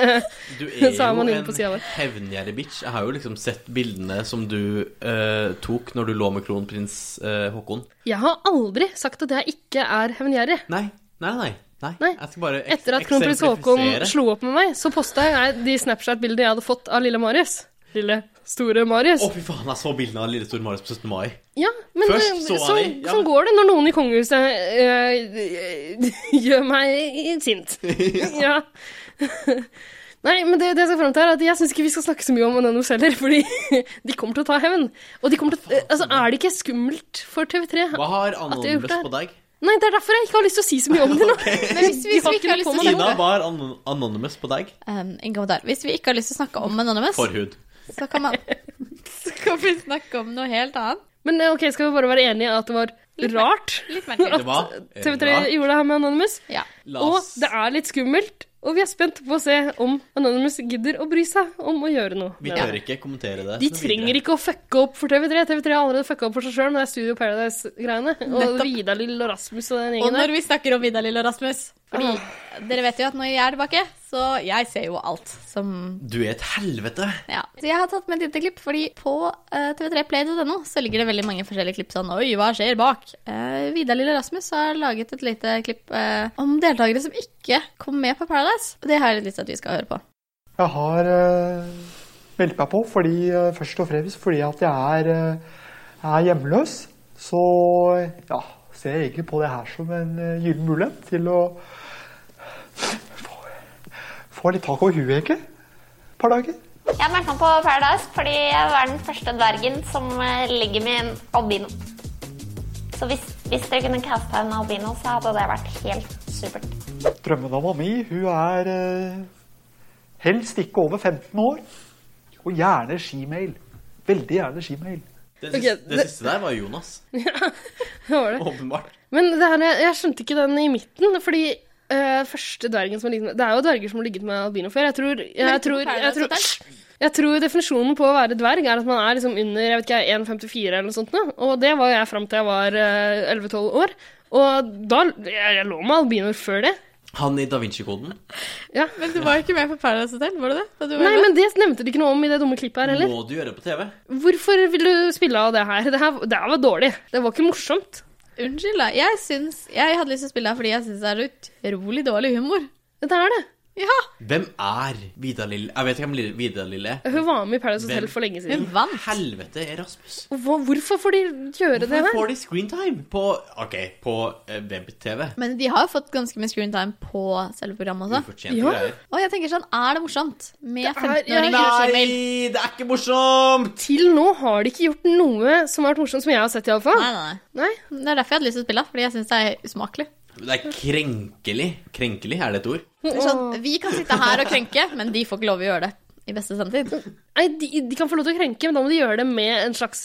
Speaker 3: Du er
Speaker 2: Så er
Speaker 3: jo
Speaker 2: man inne på siden
Speaker 3: en
Speaker 2: vår.
Speaker 3: hevngjerrig bitch. Jeg har jo liksom sett bildene som du eh, tok når du lå med kronprins eh, Håkon.
Speaker 2: Jeg har aldri sagt at jeg ikke er hevngjerrig.
Speaker 3: Nei, nei, nei. nei.
Speaker 2: Nei.
Speaker 3: Jeg skal bare ek
Speaker 2: Etter at kronprins Haakon
Speaker 3: eksemplifisere.
Speaker 2: slo opp med meg, så posta jeg de Snapchat-bildene jeg hadde fått av lille Marius. Lille, store Marius.
Speaker 3: Å, fy faen, jeg så bildene av lille store Marius på 17. mai.
Speaker 2: Ja, men
Speaker 3: Først
Speaker 2: det-
Speaker 3: så jeg
Speaker 2: sånn,
Speaker 3: de, ja,
Speaker 2: sånn
Speaker 3: men-
Speaker 2: går det når noen i kongehuset eh, gjør meg sint. ja. Nei, men det, det jeg skal frem til er at jeg syns ikke vi skal snakke så mye om Anonymous heller, fordi de kommer til å ta hevn. Og de kommer til å, altså, er det ikke skummelt for TV3?
Speaker 3: Hva har
Speaker 2: de har gjort
Speaker 3: Anonymous
Speaker 2: det
Speaker 3: på deg?
Speaker 2: Nei, det er derfor jeg ikke har lyst til å si så mye om det nå.
Speaker 4: Men hvis,
Speaker 2: De
Speaker 4: hvis
Speaker 2: har
Speaker 4: vi
Speaker 2: ikke
Speaker 4: ikke
Speaker 2: noe
Speaker 4: har lyst
Speaker 2: på
Speaker 4: til å
Speaker 2: meg.
Speaker 4: snakke
Speaker 3: Ida, hva har anon Anonymous på deg?
Speaker 4: Ehm, Inga Wadar, Hvis vi ikke har lyst til å snakke om Anonymous,
Speaker 3: Forhud.
Speaker 4: så kan, man, så kan vi snakke om noe helt annet.
Speaker 2: Men eh, ok, skal vi bare være enige at det var rart
Speaker 4: Litt
Speaker 2: at
Speaker 4: merkelig.
Speaker 3: Det var
Speaker 2: TV3
Speaker 3: rart.
Speaker 2: gjorde det her med Anonymous?
Speaker 4: Ja.
Speaker 3: Eh, La
Speaker 2: Og
Speaker 3: oss-
Speaker 2: det er litt skummelt, og vi er spent på å se om Anonymous gidder å bry seg om å gjøre noe.
Speaker 3: Vi
Speaker 2: med det.
Speaker 3: tør ikke kommentere det.
Speaker 2: De trenger ikke å fucke opp for TV3. TV3 har allerede fucka opp for seg sjøl med det Studio Paradise-greiene. Og
Speaker 4: Nettopp.
Speaker 2: Vidar Lill og Rasmus og den
Speaker 4: Og
Speaker 2: gjengen
Speaker 4: når
Speaker 2: der.
Speaker 4: vi snakker om Vidar Lill og Rasmus Fordi dere vet jo at når jeg er tilbake, så jeg ser jo alt som
Speaker 3: Du er et helvete.
Speaker 4: ja. Så jeg har tatt med et lite klipp, fordi på eh, tv3play.no så ligger det veldig mange forskjellige klipp sånn Oi, hva skjer bak? Eh, Vidar Lill og Rasmus har laget et lite klipp eh, om deltakere som ikke kom med på Paradise. Og det har jeg litt lyst til at vi skal høre på.
Speaker 7: Jeg har uh, meldt meg på fordi, eh, først og fremst fordi at jeg er, eh, jeg er hjemløs. Så ja, ser jeg egentlig på det her som en eh, gyllen mulighet til å få, få litt tak over huet, egentlig. Et par dager.
Speaker 8: Jeg meldte meg på Paradise fordi jeg var den første dvergen som eh, ligger med en albino. Så hvis, hvis dere kunne casta en albino, så hadde det vært helt supert.
Speaker 7: Drømmedama mi, hun er eh, helst ikke over 15 år. Og gjerne skimail. Veldig gjerne skimail.
Speaker 3: Det,
Speaker 2: Ok,
Speaker 3: siste, det
Speaker 2: det-
Speaker 3: siste der var Jonas.
Speaker 2: Hva var det?
Speaker 3: Åpenbart.
Speaker 2: Men det her, jeg skjønte ikke den i midten, fordi eh, første dvergen som har ligget med Det er jo dverger som har ligget med albino før. Jeg tror, jeg tror, jeg tror,
Speaker 4: Paradise
Speaker 2: jeg tror definisjonen på å være dverg er at man er liksom under jeg vet ikke, 1,54 eller noe sånt. nå. Og det var jeg fram til jeg var eh, 11-12 år. Og da jeg, jeg lå med albinoer før det.
Speaker 3: Han i Da Vinci-koden.
Speaker 2: Ja.
Speaker 4: Men du var jo ikke med på Paradise Hotel, var du det? Da du var
Speaker 2: Nei,
Speaker 4: med?
Speaker 2: men det nevnte de ikke noe om i det dumme klippet her heller.
Speaker 3: Må du gjøre det på TV?
Speaker 2: Hvorfor vil du spille av det her? Det her, det her var dårlig. Det var ikke morsomt.
Speaker 4: Unnskyld, da. Jeg, syns, jeg hadde lyst til å spille her fordi jeg syns det er utrolig dårlig humor.
Speaker 2: Det er det.
Speaker 4: Ja!
Speaker 3: Hvem er Vidar Lill? Jeg vet ikke hvem Lill- Vidar Lill er.
Speaker 2: Hun var med i Paradise Hotel
Speaker 3: Hvem?
Speaker 2: for lenge
Speaker 4: Hun
Speaker 2: siden.
Speaker 4: vant.
Speaker 3: Helvete er Rasmus.
Speaker 4: Mm.
Speaker 2: Og Hva, hvorfor får de gjøre det
Speaker 3: Hvorfor
Speaker 2: her?
Speaker 3: får de screentime på OK, på eh, web-TV?
Speaker 4: Men de har jo fått ganske mye screen time på selve programmet også.
Speaker 3: Ufortjente
Speaker 2: Ja.
Speaker 3: greier.
Speaker 4: Og jeg tenker sånn, er det morsomt? Med
Speaker 2: er-
Speaker 4: 15-åringer og
Speaker 3: Nei,
Speaker 4: skimail?
Speaker 3: det er ikke morsomt!
Speaker 2: Til nå har de ikke gjort noe som har vært morsomt, som jeg har sett, iallfall.
Speaker 4: Nei, nei,
Speaker 2: Nei.
Speaker 4: nei. Det er derfor jeg hadde lyst til å spille, fordi jeg syns det er usmakelig.
Speaker 3: Det er krenkelig. Krenkelig, er det et ord?
Speaker 4: Det er sånn, vi kan sitte her og krenke, men de får ikke lov å gjøre det. i beste samtid.
Speaker 2: Nei, de, de kan få lov til å krenke, men da må de gjøre det med en slags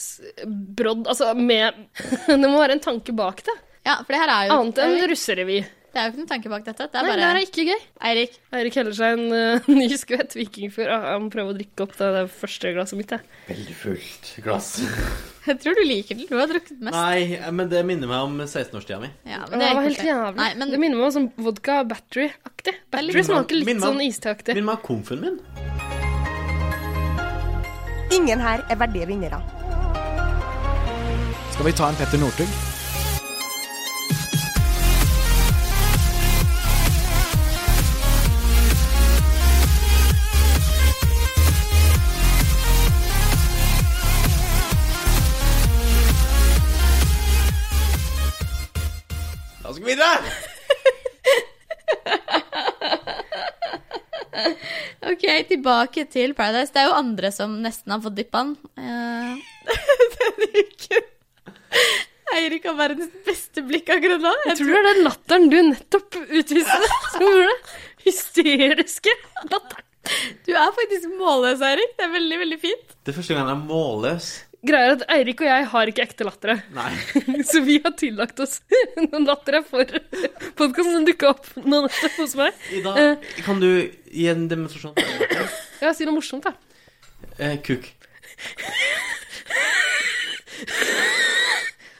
Speaker 2: brodd Altså med Det må være en tanke bak det.
Speaker 4: Ja, for det her er jo
Speaker 2: Annet enn russerevy.
Speaker 4: Det er jo ikke noen tanke bak dette. Det er
Speaker 2: Nei, det
Speaker 4: bare
Speaker 2: her er ikke gøy.
Speaker 4: Eirik,
Speaker 2: Eirik heller seg en eh, ny skvett vikingfyr. Ah, Jeg må prøve å drikke opp det, det første glasset mitt. Jeg.
Speaker 3: Veldig fullt glass.
Speaker 4: jeg tror du liker den. Du har drukket mest.
Speaker 3: Nei, men det minner meg om 16-årstida mi.
Speaker 4: Ja,
Speaker 2: Det,
Speaker 4: men det
Speaker 2: var
Speaker 4: er ikke
Speaker 2: helt
Speaker 4: koselig.
Speaker 2: jævlig.
Speaker 4: Nei, men
Speaker 2: Det minner meg om sånn vodka battery-aktig. Battery
Speaker 4: litt-
Speaker 2: smaker litt
Speaker 3: Minner meg om-
Speaker 2: sånn isteaktig.
Speaker 3: Minner meg om komfen min.
Speaker 5: Ingen her er verdige vinnere.
Speaker 9: Skal vi ta en Petter Northug?
Speaker 3: Da skal vi videre!
Speaker 4: Ok, tilbake til Paradise. Det er jo andre som nesten har fått dyppa den. eh, Denne uken. Eirik har verdens beste blikk akkurat nå. Jeg
Speaker 2: Tror du det er den latteren du nettopp utviste? Som var det hysteriske latteren.
Speaker 4: Du er faktisk målløs, Eirik. Det er veldig, veldig fint.
Speaker 3: Det er første gang jeg er målløs.
Speaker 2: Greier at Eirik og jeg har ikke ekte lattere.
Speaker 3: Nei.
Speaker 2: Så vi har tillagt oss noen latter jeg får podkasten som dukka opp nå nettopp hos meg.
Speaker 3: Ida,
Speaker 2: Eh.
Speaker 3: kan du gi en demonstrasjon?
Speaker 2: Ja, si noe morsomt, da.
Speaker 3: Eh, kuk.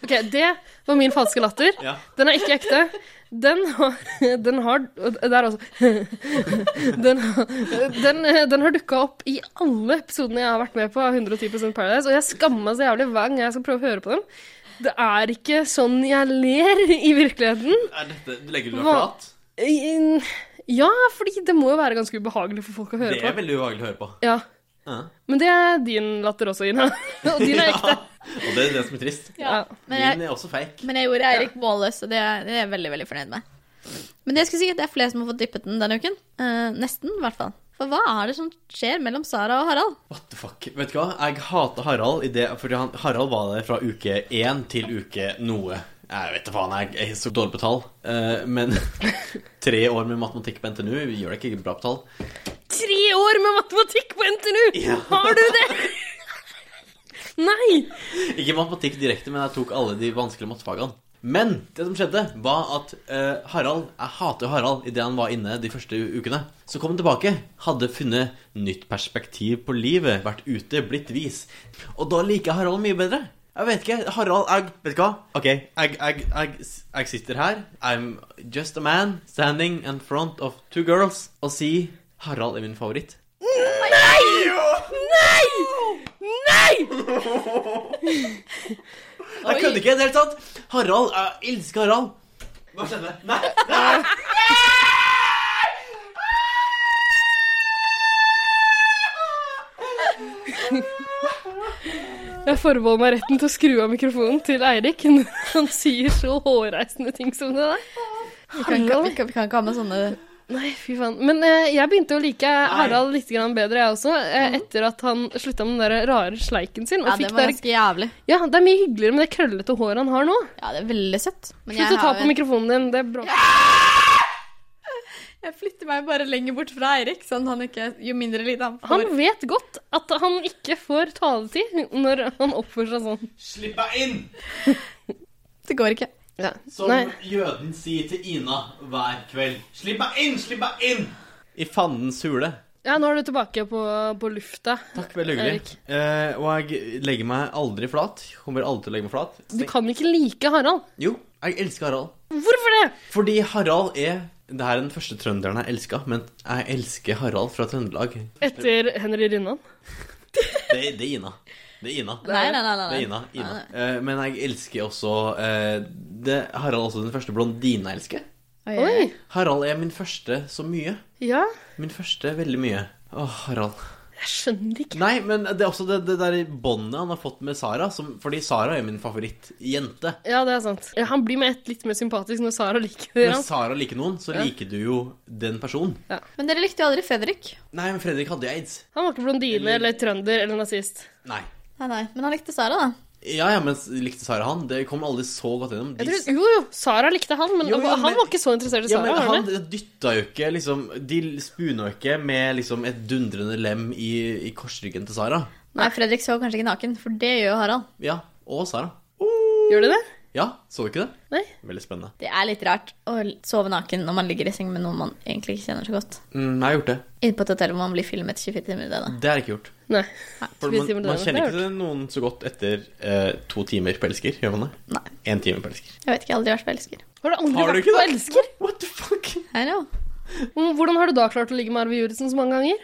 Speaker 2: Ok, Det var min falske latter.
Speaker 3: Ja.
Speaker 2: Den er ikke ekte. Den har, den har og Der også. Den, har- den, den har dukka opp i alle episodene jeg har vært med på av 110 Paradise, og jeg skammer meg så jævlig hver gang jeg skal prøve å høre på dem. Det er ikke sånn jeg ler i virkeligheten.
Speaker 3: Er dette, legger du deg
Speaker 2: Hva-
Speaker 3: flat?
Speaker 2: I- Ja, fordi det må jo være ganske ubehagelig for folk å
Speaker 3: Det
Speaker 2: høre
Speaker 3: er
Speaker 2: på.
Speaker 3: veldig ubehagelig å høre på.
Speaker 2: Ja.
Speaker 3: Ja.
Speaker 2: Men det er din latter også, Ina. Og din er ekte.
Speaker 3: Og det er det som er trist.
Speaker 2: Ja.
Speaker 4: Men jeg,
Speaker 3: Min er også fake.
Speaker 4: men jeg gjorde Eirik målløs, og det er, det er jeg veldig, veldig fornøyd med. Men det jeg skulle si, det er flere som har fått dyppet den denne uken. Eh, nesten, i hvert fall. For hva er det som skjer mellom Sara og Harald?
Speaker 3: What the fuck? Vet du hva? Jeg hater Harald i det, fordi han, Harald var der fra uke 1 til uke noe. Jeg vet da faen, jeg jeg er så dårlig på tall. Eh, men tre år med matematikk på NTNU gjør deg ikke bra på tall.
Speaker 2: Tre år med matematikk på NTNU! Har du det? Nei!
Speaker 3: Ikke matematikk direkte, men jeg tok alle de vanskelige mattefagene. Men det som skjedde, var at eh, Harald Jeg hater jo Harald idet han var inne de første u- ukene. Så kom han tilbake, hadde funnet nytt perspektiv på livet, vært ute, blitt vis. Og da liker jeg Harald mye bedre. Jeg vet ikke. Harald, jeg Vet du hva? OK, jeg, jeg, jeg, jeg sitter her. I'm just a man standing in front of two girls og sier Harald er min favoritt. Jeg kødder ikke i det hele tatt. Harald Jeg elsker Harald. Hva skjedde? Nei, nei.
Speaker 2: Jeg forbeholder meg retten til å skru av mikrofonen til Eirik når han sier så hårreisende ting som det der.
Speaker 4: Vi kan, ikke- vi kan, vi kan ikke ha med sånne
Speaker 2: Nei, fy faen. Men eh, jeg begynte å like Harald litt grann bedre, jeg også, eh, etter at han slutta med den der rare sleiken sin. Og
Speaker 4: Mhm. Ja,
Speaker 2: fikk
Speaker 4: det var
Speaker 2: der...
Speaker 4: ganske jævlig.
Speaker 2: ja, det er mye hyggeligere med det krøllete håret han har nå.
Speaker 4: Ja, det er veldig søtt. Men
Speaker 2: Slutt å ta
Speaker 4: har
Speaker 2: på
Speaker 4: en-
Speaker 2: mikrofonen din. Det bråker.
Speaker 4: Jeg flytter meg bare lenger bort fra Eirik, sånn han ikke Jo mindre lyd han får.
Speaker 2: Han vet godt at han ikke får taletid når han oppfører seg sånn.
Speaker 3: Slipp meg inn!
Speaker 4: Det går ikke.
Speaker 3: Som
Speaker 2: Nei.
Speaker 3: jøden sier til Ina hver kveld. Slipp meg inn! Slipp meg inn! I fandens hule.
Speaker 2: Ja, nå er du tilbake på, på lufta.
Speaker 3: Takk, veldig hyggelig. Eh, og jeg legger meg aldri flat. Kommer aldri til å legge meg flat.
Speaker 2: Du kan ikke like Harald.
Speaker 3: Jo, jeg elsker Harald.
Speaker 2: Hvorfor det?
Speaker 3: Fordi Harald er Det her er den første trønderen jeg elska, men jeg elsker Harald fra Trøndelag.
Speaker 2: Etter Henry Rinnan.
Speaker 3: Det, det er Ina. Det er Ina.
Speaker 4: Nei, nei, nei. nei,
Speaker 3: Det er Ina. Ina. Eh, men jeg elsker også eh, det, Harald er også den første blondinen jeg elsker.
Speaker 4: Eh.
Speaker 2: Oi.
Speaker 3: Harald er min første så mye.
Speaker 2: Ja,
Speaker 3: Min første veldig mye. Åh, Harald.
Speaker 2: jeg skjønner ikke.
Speaker 3: Nei, men det er også det, det der båndet han har fått med Sara, som, fordi Sara er min favorittjente.
Speaker 2: Ja, det er sant. Ja, Han blir med et litt mer sympatisk når Sara liker
Speaker 3: Når
Speaker 2: ham.
Speaker 3: Sara liker noen, så liker du jo den personen.
Speaker 4: Men dere likte jo aldri Fredrik.
Speaker 3: Nei, men Fredrik hadde jo aids.
Speaker 2: Han var ikke blondine eller trønder eller nazist.
Speaker 3: Nei.
Speaker 4: Nei, nei. Men han likte Sara, da.
Speaker 3: Ja, ja, men likte Sara han? Det kom aldri så godt gjennom.
Speaker 2: Jeg
Speaker 3: De-
Speaker 2: tror, jo, jo, Sara likte han, men
Speaker 3: Jo, jo,
Speaker 2: han
Speaker 3: men-
Speaker 2: var ikke så interessert i
Speaker 3: Ja,
Speaker 2: Sara.
Speaker 3: men
Speaker 2: var
Speaker 3: han
Speaker 2: det?
Speaker 3: dytta jo ikke liksom De spuna jo ikke med liksom et dundrende lem i, i korsryggen til Sara.
Speaker 4: Nei, Fredrik så kanskje ikke naken, for det gjør jo Harald.
Speaker 3: Ja, og Sara.
Speaker 2: Gjorde de det?
Speaker 3: Ja, så du ikke det?
Speaker 2: Nei.
Speaker 3: Veldig spennende.
Speaker 4: Det er litt rart å sove naken når man ligger i seng med noen man egentlig ikke kjenner så godt.
Speaker 3: Mm, jeg har gjort det.
Speaker 4: Inne på et hotell hvor man blir filmet 24 timer i døgnet.
Speaker 3: Det har jeg ikke gjort.
Speaker 2: Nei.
Speaker 3: For
Speaker 2: vi
Speaker 3: man,
Speaker 2: si hvordan
Speaker 3: man
Speaker 2: det
Speaker 3: kjenner
Speaker 2: er
Speaker 3: ikke noen så godt etter eh, to timer på elsker, gjør man det?
Speaker 4: Nei.
Speaker 3: En time på elsker.
Speaker 4: Jeg vet ikke, jeg har aldri vært forelsker.
Speaker 2: Har du aldri
Speaker 3: Har du
Speaker 2: vært
Speaker 3: ikke
Speaker 2: på
Speaker 3: det?
Speaker 2: elsker?
Speaker 3: What the fuck?
Speaker 4: I know.
Speaker 2: Hvordan har du da klart å ligge med Arve Juritzen så mange ganger?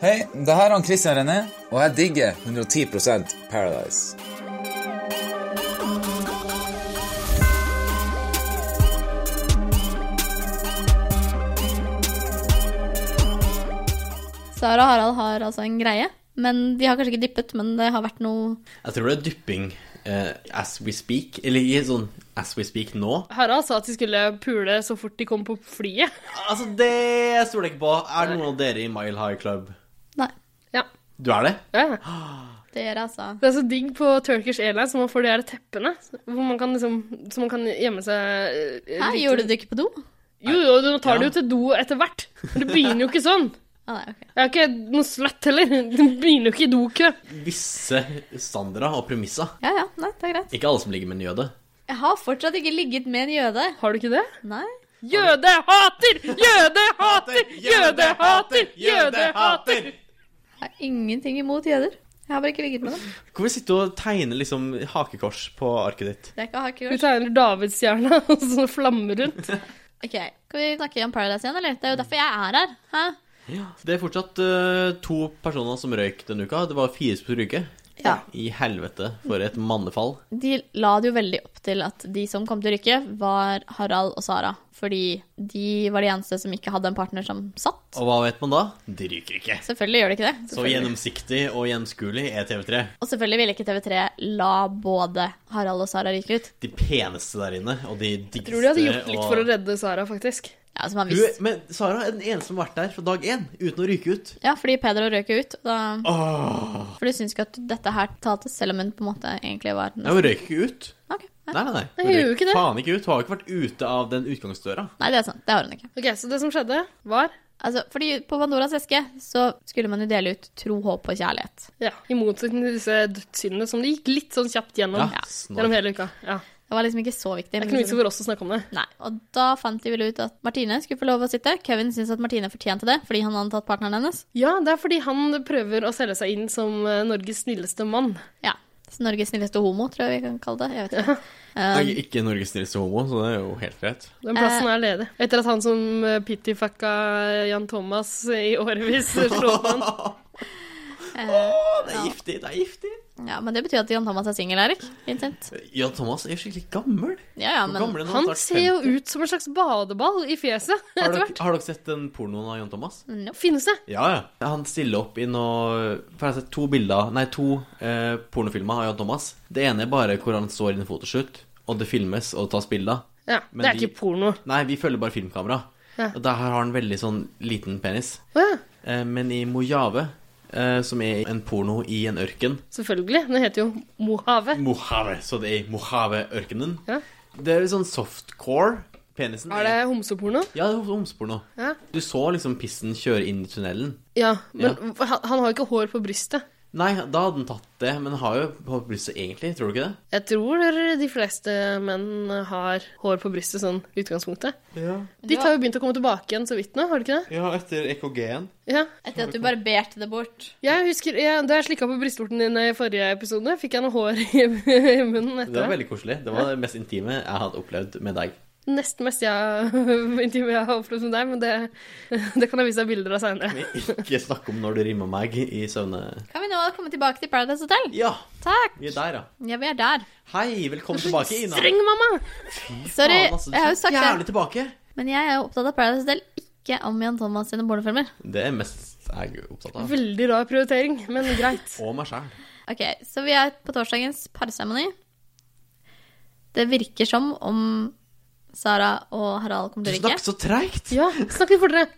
Speaker 9: Hei, det her er han Christian René, og jeg digger 110 Paradise.
Speaker 4: Sara og Harald har altså en greie, men de har kanskje ikke dyppet, men det har vært noe
Speaker 3: Jeg tror det er dypping eh, as we speak. Eller i sånn as we speak nå.
Speaker 2: Harald sa at de skulle pule så fort de kom på flyet.
Speaker 3: Altså, det stoler jeg ikke på. Er det noen av dere i Mile High Club?
Speaker 4: Nei.
Speaker 2: Ja.
Speaker 3: Du er det?
Speaker 2: ja.
Speaker 4: Det gjør jeg, altså.
Speaker 2: Det er så digg på Turkish Airlines når man får de her teppene, hvor man kan liksom, så man kan gjemme seg eh,
Speaker 4: Hæ,
Speaker 2: litt-
Speaker 4: gjorde du det ikke på do?
Speaker 2: Jo, jo, du tar det
Speaker 3: Ja.
Speaker 2: jo til do etter hvert. Men det begynner jo ikke sånn.
Speaker 4: Ah, nei, ok.
Speaker 2: Jeg er ikke noe sløtt heller. Det begynner jo ikke i dokø.
Speaker 3: Visse standarder og premisser.
Speaker 4: Ja ja, nei, det er greit.
Speaker 3: Ikke alle som ligger med en jøde.
Speaker 4: Jeg har fortsatt ikke ligget med en jøde.
Speaker 2: Har du ikke det?
Speaker 4: Nei.
Speaker 2: Jødehater! Jødehater! Jødehater! Jødehater!
Speaker 4: Jeg har ingenting imot jøder. Jeg har bare ikke ligget med dem.
Speaker 3: Hvorfor sitter du og tegner liksom hakekors på arket ditt?
Speaker 4: Det er ikke
Speaker 2: Du
Speaker 4: hakekors.
Speaker 2: tegner Davidsstjerna og sånn flammer rundt.
Speaker 4: Ok, Skal vi snakke om Paradise igjen, eller? Det er jo derfor jeg er her. Hæ?
Speaker 3: Det er fortsatt eh, to personer som røyk denne uka. Det var fire som skulle røyke.
Speaker 4: Ja.
Speaker 3: I helvete, for et mannefall.
Speaker 4: De la det jo veldig opp til at de som kom til å rykke, var Harald og Sara. Fordi de var de eneste som ikke hadde en partner som satt.
Speaker 3: Og hva vet man da? De ryker ikke.
Speaker 4: Selvfølgelig gjør de ikke det.
Speaker 3: Så gjennomsiktig og gjenskuelig er TV3.
Speaker 4: Og selvfølgelig ville ikke TV3 la både Harald og Sara ryke ut.
Speaker 3: De peneste der inne, og de diggeste.
Speaker 2: Tror de hadde gjort litt
Speaker 3: og-
Speaker 2: for å redde Sara, faktisk.
Speaker 4: Ja, som han
Speaker 3: Hun,
Speaker 4: visste.
Speaker 3: men Sara er den eneste som har vært der fra dag én uten å ryke ut.
Speaker 4: Ja, fordi Pedro røk jo ut. og Da... For du syns ikke at dette her talte, selv om hun på en måte egentlig var
Speaker 3: Nei, hun røyker ikke ut.
Speaker 4: Ok, nei.
Speaker 3: Nei, nei, nei.
Speaker 2: Nei, hun gjør jo ikke det.
Speaker 3: faen ikke ut. Hun har ikke vært ute av den utgangsdøra.
Speaker 4: nei, det er sant. Det har hun ikke.
Speaker 2: Ok, Så det som skjedde, var
Speaker 4: Altså, fordi på Pandoras eske så skulle man jo dele ut tro, håp og kjærlighet.
Speaker 2: ja, i motsetning til disse dødssyndene som det gikk litt sånn kjapt gjennom.
Speaker 3: Ja,
Speaker 2: Gjennom
Speaker 3: snork.
Speaker 2: hele uka. Ja. Det
Speaker 4: Det var liksom ikke så viktig.
Speaker 2: er ikke noe vits for oss å snakke om det.
Speaker 4: Nei, og da fant de vel ut at Martine skulle få lov å sitte. Kevin syntes at Martine fortjente det, fordi han hadde tatt partneren hennes.
Speaker 2: Ja, det er fordi han prøver å selge seg inn som eh, Norges snilleste mann.
Speaker 4: Ja. Så Norges snilleste homo, tror jeg vi kan kalle det. Jeg vet ikke.
Speaker 3: Jeg er ikke Norges snilleste homo, så det er jo helt greit.
Speaker 2: Den plassen er ledig. Etter at han som eh, pity-fucka Jan Thomas i årevis slo opp med han.
Speaker 3: Å, det er giftig, det er giftig.
Speaker 4: Ja, Men det betyr at Jan Thomas er singel, Erik. Vincent.
Speaker 3: Jan Thomas er jo skikkelig gammel.
Speaker 4: Ja, ja,
Speaker 3: Hvor gammel
Speaker 4: men
Speaker 3: er
Speaker 2: Han
Speaker 3: Snart
Speaker 2: ser jo
Speaker 3: 50.
Speaker 2: ut som en slags badeball i fjeset
Speaker 3: Har
Speaker 2: etter
Speaker 3: dere,
Speaker 2: hvert.
Speaker 3: har dere sett den pornoen av Jan Thomas?
Speaker 2: Finnes det?
Speaker 3: Ja, ja. Han stiller opp i noe For jeg har sett to bilder Nei, to eh, pornofilmer av Jan Thomas. Det ene er bare hvor han står i en photoshoot, og det filmes og tas bilder.
Speaker 2: Ja,
Speaker 3: Men
Speaker 2: Det er
Speaker 3: de-
Speaker 2: ikke porno.
Speaker 3: Nei, vi følger bare filmkamera.
Speaker 2: Ja.
Speaker 3: Og der har han veldig sånn liten penis.
Speaker 2: Å ja,
Speaker 3: Eh, men i Mojave, eh, som er en porno i en ørken
Speaker 2: selvfølgelig. Den heter jo Mojave.
Speaker 3: Mojave, så det er i Mojave-ørkenen.
Speaker 2: Ja.
Speaker 3: Det er sånn softcore. Penisen
Speaker 2: Er det homseporno?
Speaker 3: Ja, det er homseporno.
Speaker 2: Ja.
Speaker 3: Du så liksom pissen kjøre inn i tunnelen.
Speaker 2: ja men
Speaker 3: Ja.
Speaker 2: h- Han, han har jo ikke hår på brystet.
Speaker 3: Nei, da hadde han tatt det, men han har jo på brystet egentlig, tror du ikke det?
Speaker 2: Jeg tror de fleste menn har hår på brystet sånn i utgangspunktet.
Speaker 3: Ja,
Speaker 2: Ditt har jo begynt å komme tilbake igjen så vidt nå, har det ikke det?
Speaker 3: etter EKG-en.
Speaker 2: Ja.
Speaker 4: etter at du barberte det bort.
Speaker 2: Jeg husker, jeg, Da jeg slikka på brystvorten din i forrige episode, fikk jeg noe hår i i munnen
Speaker 3: Det var
Speaker 2: etter det.
Speaker 3: veldig koselig. Det var det mest intime jeg hadde opplevd med deg.
Speaker 2: Nesten mest jeg, intime jeg har opplevd med deg, men det, det kan jeg vise deg bilder av seinere.
Speaker 3: Men ikke snakk om når du rimma meg i søvne...
Speaker 4: Kan vi nå komme tilbake til Paradise Hotel?
Speaker 3: Ja,
Speaker 4: Takk!
Speaker 3: vi er der, ja.
Speaker 4: Ja, vi er der.
Speaker 3: Hei, velkommen tilbake, Ina.
Speaker 2: Streng, mamma!
Speaker 4: Sorry,
Speaker 3: Faen, altså, du
Speaker 4: jeg har jo
Speaker 3: ser
Speaker 4: sagt
Speaker 3: Jævlig
Speaker 4: det.
Speaker 3: tilbake.
Speaker 4: Men jeg er jo opptatt av Paradise Hotel, ikke om Jan Thomas sine pornofilmer.
Speaker 3: Det er mest jeg er opptatt av.
Speaker 2: Veldig rar prioritering, men greit.
Speaker 3: Og meg sjæl.
Speaker 4: Ok, så vi er på torsdagens parseremoni. Det virker som om Sara og Harald kommer
Speaker 3: Du
Speaker 4: til å ryke.
Speaker 3: snakker så treigt.
Speaker 2: Ja, snakk litt fortere.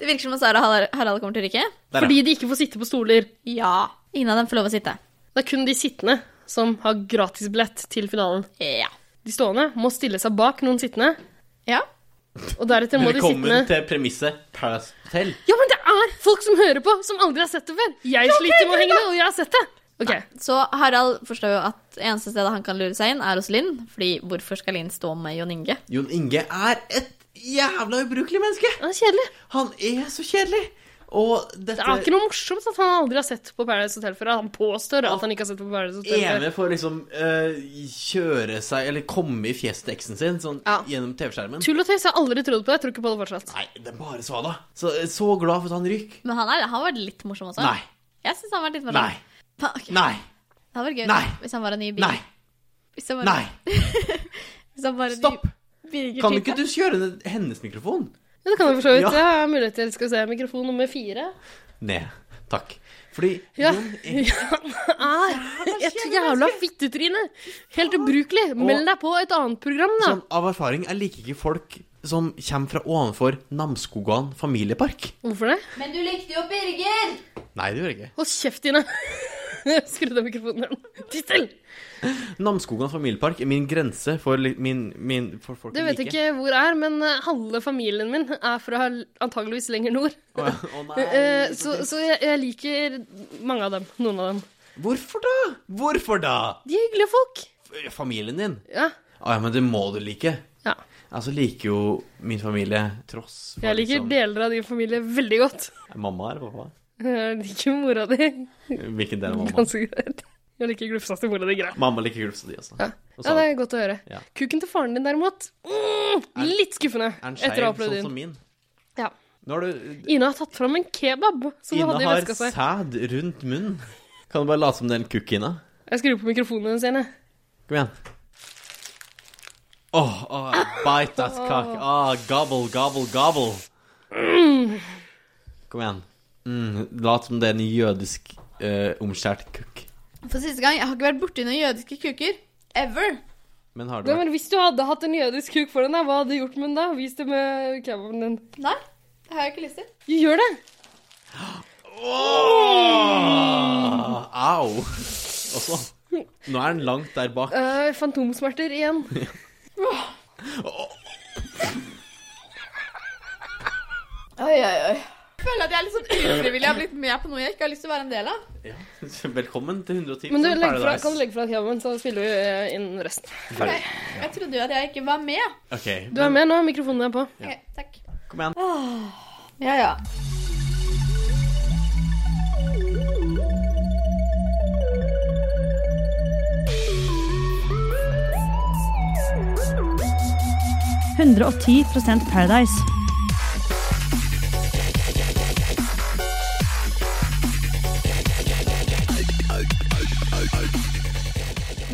Speaker 4: Det virker som at Sara og Har- Harald kommer til å ryke.
Speaker 3: Der, ja.
Speaker 2: Fordi de ikke får sitte på stoler.
Speaker 4: Ja. Ingen av dem får lov å sitte.
Speaker 2: Det er kun de sittende som har gratisbillett til finalen.
Speaker 4: Ja.
Speaker 2: De stående må stille seg bak noen sittende,
Speaker 4: Ja.
Speaker 2: og deretter må de sittende
Speaker 3: Velkommen til premisset Paradise Hotel.
Speaker 2: Ja, men det er folk som hører på, som aldri har sett det før. Jeg sliter med å henge med, og jeg har sett det. Ok,
Speaker 4: Så Harald forstår jo at eneste stedet han kan lure seg inn, er hos Linn. Fordi hvorfor skal Linn stå med Jon Inge?
Speaker 3: Jon Inge er et jævla ubrukelig menneske!
Speaker 2: det er kjedelig.
Speaker 3: Han er så kjedelig! Og
Speaker 2: Det
Speaker 3: dette
Speaker 2: er ikke noe morsomt at han aldri har sett på Paradise Hotel før. Han påstår at han ikke har sett på Paradise Hotel før.
Speaker 3: ene for å liksom eh, kjøre seg Eller komme i fjeset til eksen sin sånn
Speaker 2: Ja.
Speaker 3: gjennom TV-skjermen.
Speaker 2: Tull og tøys jeg har aldri trodd på. Jeg tror ikke på det fortsatt.
Speaker 3: Nei, det er bare Svada. Så, eh, så glad for at han ryker.
Speaker 4: Men han, er, han har vært litt morsom også.
Speaker 3: Nei.
Speaker 4: Jeg syns han har vært litt morsom.
Speaker 3: Nei.
Speaker 4: Ha, ok.
Speaker 3: Nei.
Speaker 4: Det hadde vært gøy
Speaker 3: Nei.
Speaker 4: hvis han var en ny Birger.
Speaker 3: Nei.
Speaker 4: Hvis han var,
Speaker 3: Nei.
Speaker 4: Hvis han var en
Speaker 3: Stopp!
Speaker 4: Ny Birger
Speaker 3: Kan
Speaker 4: Type.
Speaker 3: ikke du kjøre ned hennes mikrofon?
Speaker 2: Ja, det kan vi for så vidt.
Speaker 3: Ja.
Speaker 2: Jeg har mulighet til skal vi se, mikrofon nummer fire.
Speaker 3: Ned. Takk. Fordi
Speaker 2: Ja.
Speaker 3: Jon Inge
Speaker 2: Er et jævla fittetryne! Helt ubrukelig. Meld deg på et annet program, da.
Speaker 3: sånn, av erfaring jeg liker ikke folk som kommer fra ovenfor Namsskogan familiepark.
Speaker 2: Hvorfor det?
Speaker 4: Men du likte jo Birger!
Speaker 3: Nei, det gjør jeg ikke.
Speaker 2: Hold kjeft, Ine. Skru av mikrofonen igjen. Titt til!
Speaker 3: Namsskogan familiepark er min grense for li- min, min for folk
Speaker 2: Det
Speaker 3: jeg
Speaker 2: vet jeg
Speaker 3: liker.
Speaker 2: ikke hvor er, men eh, halve familien min er fra l- antageligvis lenger nord.
Speaker 3: Å, ja. Å, nei.
Speaker 2: Eh, Så, så jeg, jeg liker mange av dem. Noen av dem.
Speaker 3: Hvorfor da? Hvorfor da?
Speaker 2: De er hyggelige folk.
Speaker 3: F- Familien din.
Speaker 2: Ja.
Speaker 3: Å ja, men det må du like.
Speaker 2: ja.
Speaker 3: Altså liker jo min familie tross for
Speaker 2: Jeg liker
Speaker 3: liksom-
Speaker 2: deler av din familie veldig godt.
Speaker 3: Mamma eller pappa?
Speaker 2: Jeg liker mora di
Speaker 3: Hvilken del av mamma?
Speaker 2: ganske greit. Jeg liker glufsa til mora di greit.
Speaker 3: Mamma liker gulvsa di, altså.
Speaker 2: Ja.
Speaker 3: Og
Speaker 2: ja,
Speaker 3: så
Speaker 2: det
Speaker 3: er
Speaker 2: er godt å høre.
Speaker 3: Ja.
Speaker 2: Kuken til faren din derimot, mm, litt skuffende
Speaker 3: den
Speaker 2: etter å ha
Speaker 3: skeiv
Speaker 2: opplevd
Speaker 3: sånn
Speaker 2: din.
Speaker 3: som min?
Speaker 2: Ja.
Speaker 3: Nå har du
Speaker 2: Ina har tatt fram en kebab som hun
Speaker 3: Ina
Speaker 2: hadde i
Speaker 3: har
Speaker 2: veska si.
Speaker 3: sæd rundt munnen. Kan du bare late som det er en kukk, Ina?
Speaker 2: Jeg skrur på mikrofonen hennes igjen, jeg.
Speaker 3: Kom igjen. Åh, åh, bite that cock. Åh, gobble, gobble, gobble.
Speaker 2: Mm.
Speaker 3: Kom igjen. Mm, lat som det er en jødisk eh, omskjært kukk.
Speaker 4: For siste gang, jeg har ikke vært borti noen jødiske kuker. Ever.
Speaker 3: Men har du
Speaker 2: Nei, men Hvis du hadde hatt en jødisk kuk for deg, hva hadde du gjort med den da? Vis det med kebaben din.
Speaker 4: Nei, det har jeg ikke lyst til.
Speaker 2: Du gjør det!
Speaker 3: Ah, Au! Og så Nå er den langt der bak.
Speaker 2: Eh, fantomsmerter igjen.
Speaker 4: Oi, oi, oi. Jeg føler at jeg er litt sånn ufrivillig har blitt med på noe jeg ikke har lyst til å være en del av.
Speaker 3: Ja. Velkommen til 110
Speaker 2: Men du,
Speaker 3: som
Speaker 2: legg fra,
Speaker 3: Paradise.
Speaker 2: kan du legge fra deg kebaben, så spiller vi eh, inn resten.
Speaker 3: Ferdig.
Speaker 4: Jeg trodde jo at jeg ikke var med.
Speaker 3: OK.
Speaker 2: Du er med nå, mikrofonen er på.
Speaker 4: Ok, takk. Ah,
Speaker 3: Kom igjen.
Speaker 4: Ja, ja.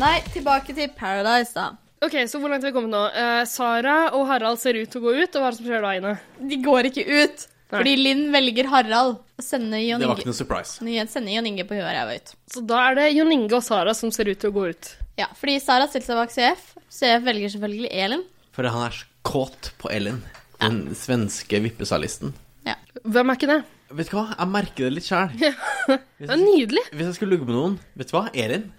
Speaker 4: Nei, tilbake til Paradise, da.
Speaker 2: Ok, Så hvor langt har vi kommet nå? Eh, Sara og Harald ser ut til å gå ut, og hva er det som skjer da, Ine?
Speaker 4: De går ikke ut.
Speaker 2: Nei.
Speaker 4: Fordi Linn velger Harald å sende Jon
Speaker 3: Det var ikke
Speaker 4: Inge,
Speaker 3: noe surprise.
Speaker 4: sende Jon Inge på huet og ræva ut.
Speaker 2: Så da er det Jon Inge og Sara som ser ut til å gå ut.
Speaker 4: Ja, fordi Sara stilte seg bak CF. CF velger selvfølgelig Elin.
Speaker 3: For han er så kåt på Ellen, den svenske vippesalisten.
Speaker 2: Hvem er ikke det?
Speaker 3: Vet du hva, jeg merker det litt sjæl.
Speaker 2: Det er nydelig.
Speaker 3: Hvis jeg skulle ligge med noen, vet du hva, Elin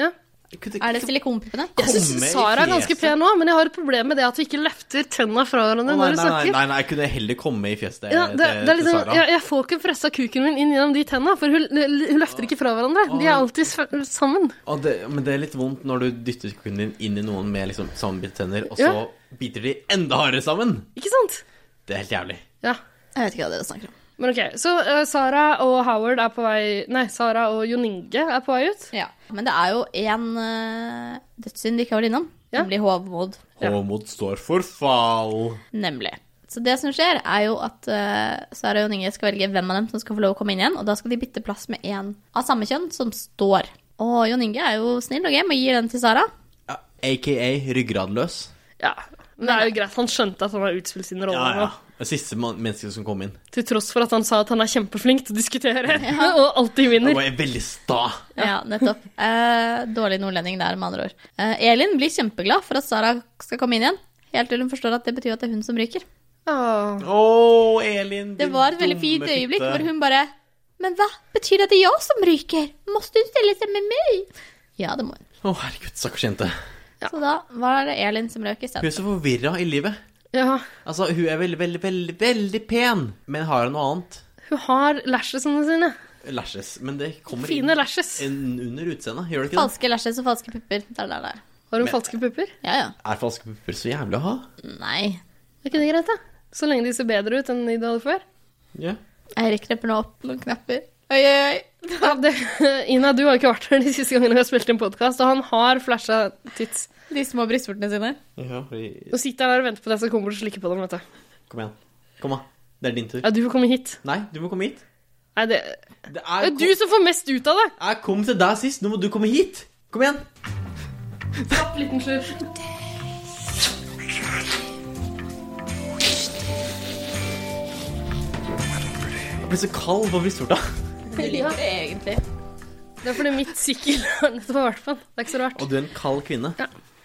Speaker 2: Ja.
Speaker 3: Jeg kunne
Speaker 4: Er det
Speaker 3: ikke-
Speaker 4: silikonpuppene?
Speaker 2: Jeg
Speaker 3: Komme i
Speaker 2: syns Sara er ganske
Speaker 3: fjeset.
Speaker 2: pen nå, men jeg har et problem med det at vi ikke løfter tenna fra
Speaker 3: Å,
Speaker 2: hverandre
Speaker 3: nei,
Speaker 2: når vi
Speaker 3: nei, nei,
Speaker 2: snakker.
Speaker 3: nei, nei, jeg kunne heller komme i fjeset
Speaker 2: Ja, det,
Speaker 3: til,
Speaker 2: det er liksom,
Speaker 3: til Sara.
Speaker 2: jeg, jeg får ikke pressa kuken min inn gjennom de tenna, for hun, hun løfter ikke fra hverandre. De er alltid s- sammen.
Speaker 3: Og det, men det er litt vondt når du dytter kukken din inn i noen med liksom sammenbitte tenner, og så
Speaker 2: Ja.
Speaker 3: biter de enda hardere sammen.
Speaker 2: Ikke sant?
Speaker 3: Det er helt jævlig.
Speaker 2: Ja.
Speaker 4: Jeg vet ikke hva dere snakker om.
Speaker 2: Men OK, så eh, Sara og Howard er på vei Nei, Sara og Jon Inge er på vei ut.
Speaker 4: Ja. Men det er jo én uh, dødssynd vi ikke har vært innom,
Speaker 2: Ja.
Speaker 4: nemlig hovmod.
Speaker 2: Ja.
Speaker 3: Håmod står for fall.
Speaker 4: Nemlig. Så det som skjer, er jo at eh, Sara og Jon Inge skal velge hvem av dem som skal få lov å komme inn igjen, og da skal de bytte plass med en av samme kjønn som står. Og Jon Inge er jo snill og game og gir den til Sara.
Speaker 3: Ja, AKA ryggradløs.
Speaker 2: Ja. Men det er jo greit, han skjønte at han har utspilt sin rolle
Speaker 3: Ja, ja.
Speaker 2: nå.
Speaker 3: Det siste man- mennesket som kom inn.
Speaker 2: Til tross for at han sa at han er kjempeflink til å diskutere og alltid
Speaker 3: Han
Speaker 2: vinner.
Speaker 3: var veldig sta.
Speaker 4: Ja, nettopp. Eh, dårlig nordlending der, med andre ord. Eh, Elin blir kjempeglad for at Sara skal komme inn igjen, helt til hun forstår at det betyr at det er hun som ryker.
Speaker 2: Åh.
Speaker 3: Å, Elin.
Speaker 4: Det
Speaker 3: din
Speaker 4: var et veldig
Speaker 3: dumme
Speaker 4: fint
Speaker 3: fitte.
Speaker 4: øyeblikk hvor hun bare Men hva? Betyr det at det er jeg som ryker? Måste hun stille seg med meg? Ja, det må hun.
Speaker 3: Å, herregud, stakkars jente.
Speaker 4: Så da var det Elin som røk i
Speaker 3: Hun
Speaker 4: stedet.
Speaker 3: er så forvirra i livet.
Speaker 2: Ja.
Speaker 3: Altså, hun er veldig, veldig, veldig, veldig pen, men har hun noe annet?
Speaker 2: Hun har lashesene sine.
Speaker 3: Lashes. Men det kommer
Speaker 2: Fine lashes.
Speaker 3: inn inn under utseendet, gjør det ikke det?
Speaker 4: Falske lashes og falske pupper. Der, der, der.
Speaker 2: Har hun falske pupper?
Speaker 4: Ja, ja.
Speaker 3: Er falske pupper så jævlig å ha?
Speaker 4: Nei.
Speaker 2: Er ikke det greit, da? Så lenge de ser bedre ut enn de du hadde før.
Speaker 3: Ja.
Speaker 4: Eirik knepper nå opp noen knapper. Oi, oi, oi.
Speaker 2: Ja, det, Ina, du har ikke vært her de siste gangene vi har spilt inn podkast, og han har flasha tits.
Speaker 4: De små brystvortene sine.
Speaker 3: ja fordi-
Speaker 2: Nå sitter han der og venter på deg, så kommer du og slikker på dem, vet du.
Speaker 3: Kom igjen. Kom, da. Det er din tur.
Speaker 2: Ja, du får komme hit.
Speaker 3: Nei, du må komme hit.
Speaker 2: Nei, det
Speaker 3: Det
Speaker 2: det
Speaker 3: er,
Speaker 2: er du som får mest ut av det!
Speaker 3: Jeg kom til deg sist, nå må du komme hit. Kom igjen.
Speaker 2: Kjapp liten slurk.
Speaker 3: Jeg ble så kald på brystvorta.
Speaker 4: Jeg liker det egentlig.
Speaker 2: Det er fordi mitt sykkel har nettopp vært på den. Det er ikke så rart.
Speaker 3: Og du er en kald kvinne.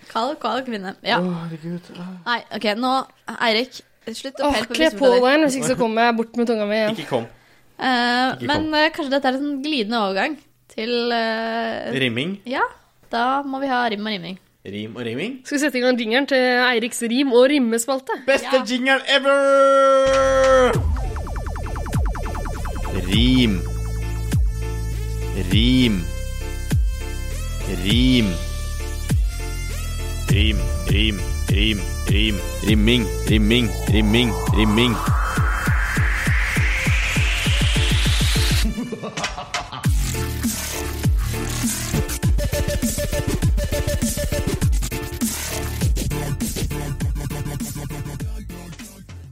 Speaker 4: Kald, kald kvinne. Ja. Nei, OK, nå Eirik, slutt å
Speaker 2: Åh,
Speaker 4: pelle på
Speaker 2: kle på
Speaker 4: brystvortene.
Speaker 2: deg, hvis ikke så kommer jeg bort med tunga mi igjen.
Speaker 3: Ikke kom.
Speaker 4: Eh,
Speaker 3: Ikke
Speaker 4: men eh, kanskje dette er en sånn glidende overgang til eh,
Speaker 3: Rimming.
Speaker 4: Ja, da må vi ha rim og riming.
Speaker 3: Rim og rimming.
Speaker 2: Skal vi sette i gang jingeren til Eiriks rim- og rimmespalte?
Speaker 3: Beste jingle ever!
Speaker 6: Rim. Rim. Rim. Rim, rim, rim, rim. Rimming, rimming, rimming, rimming.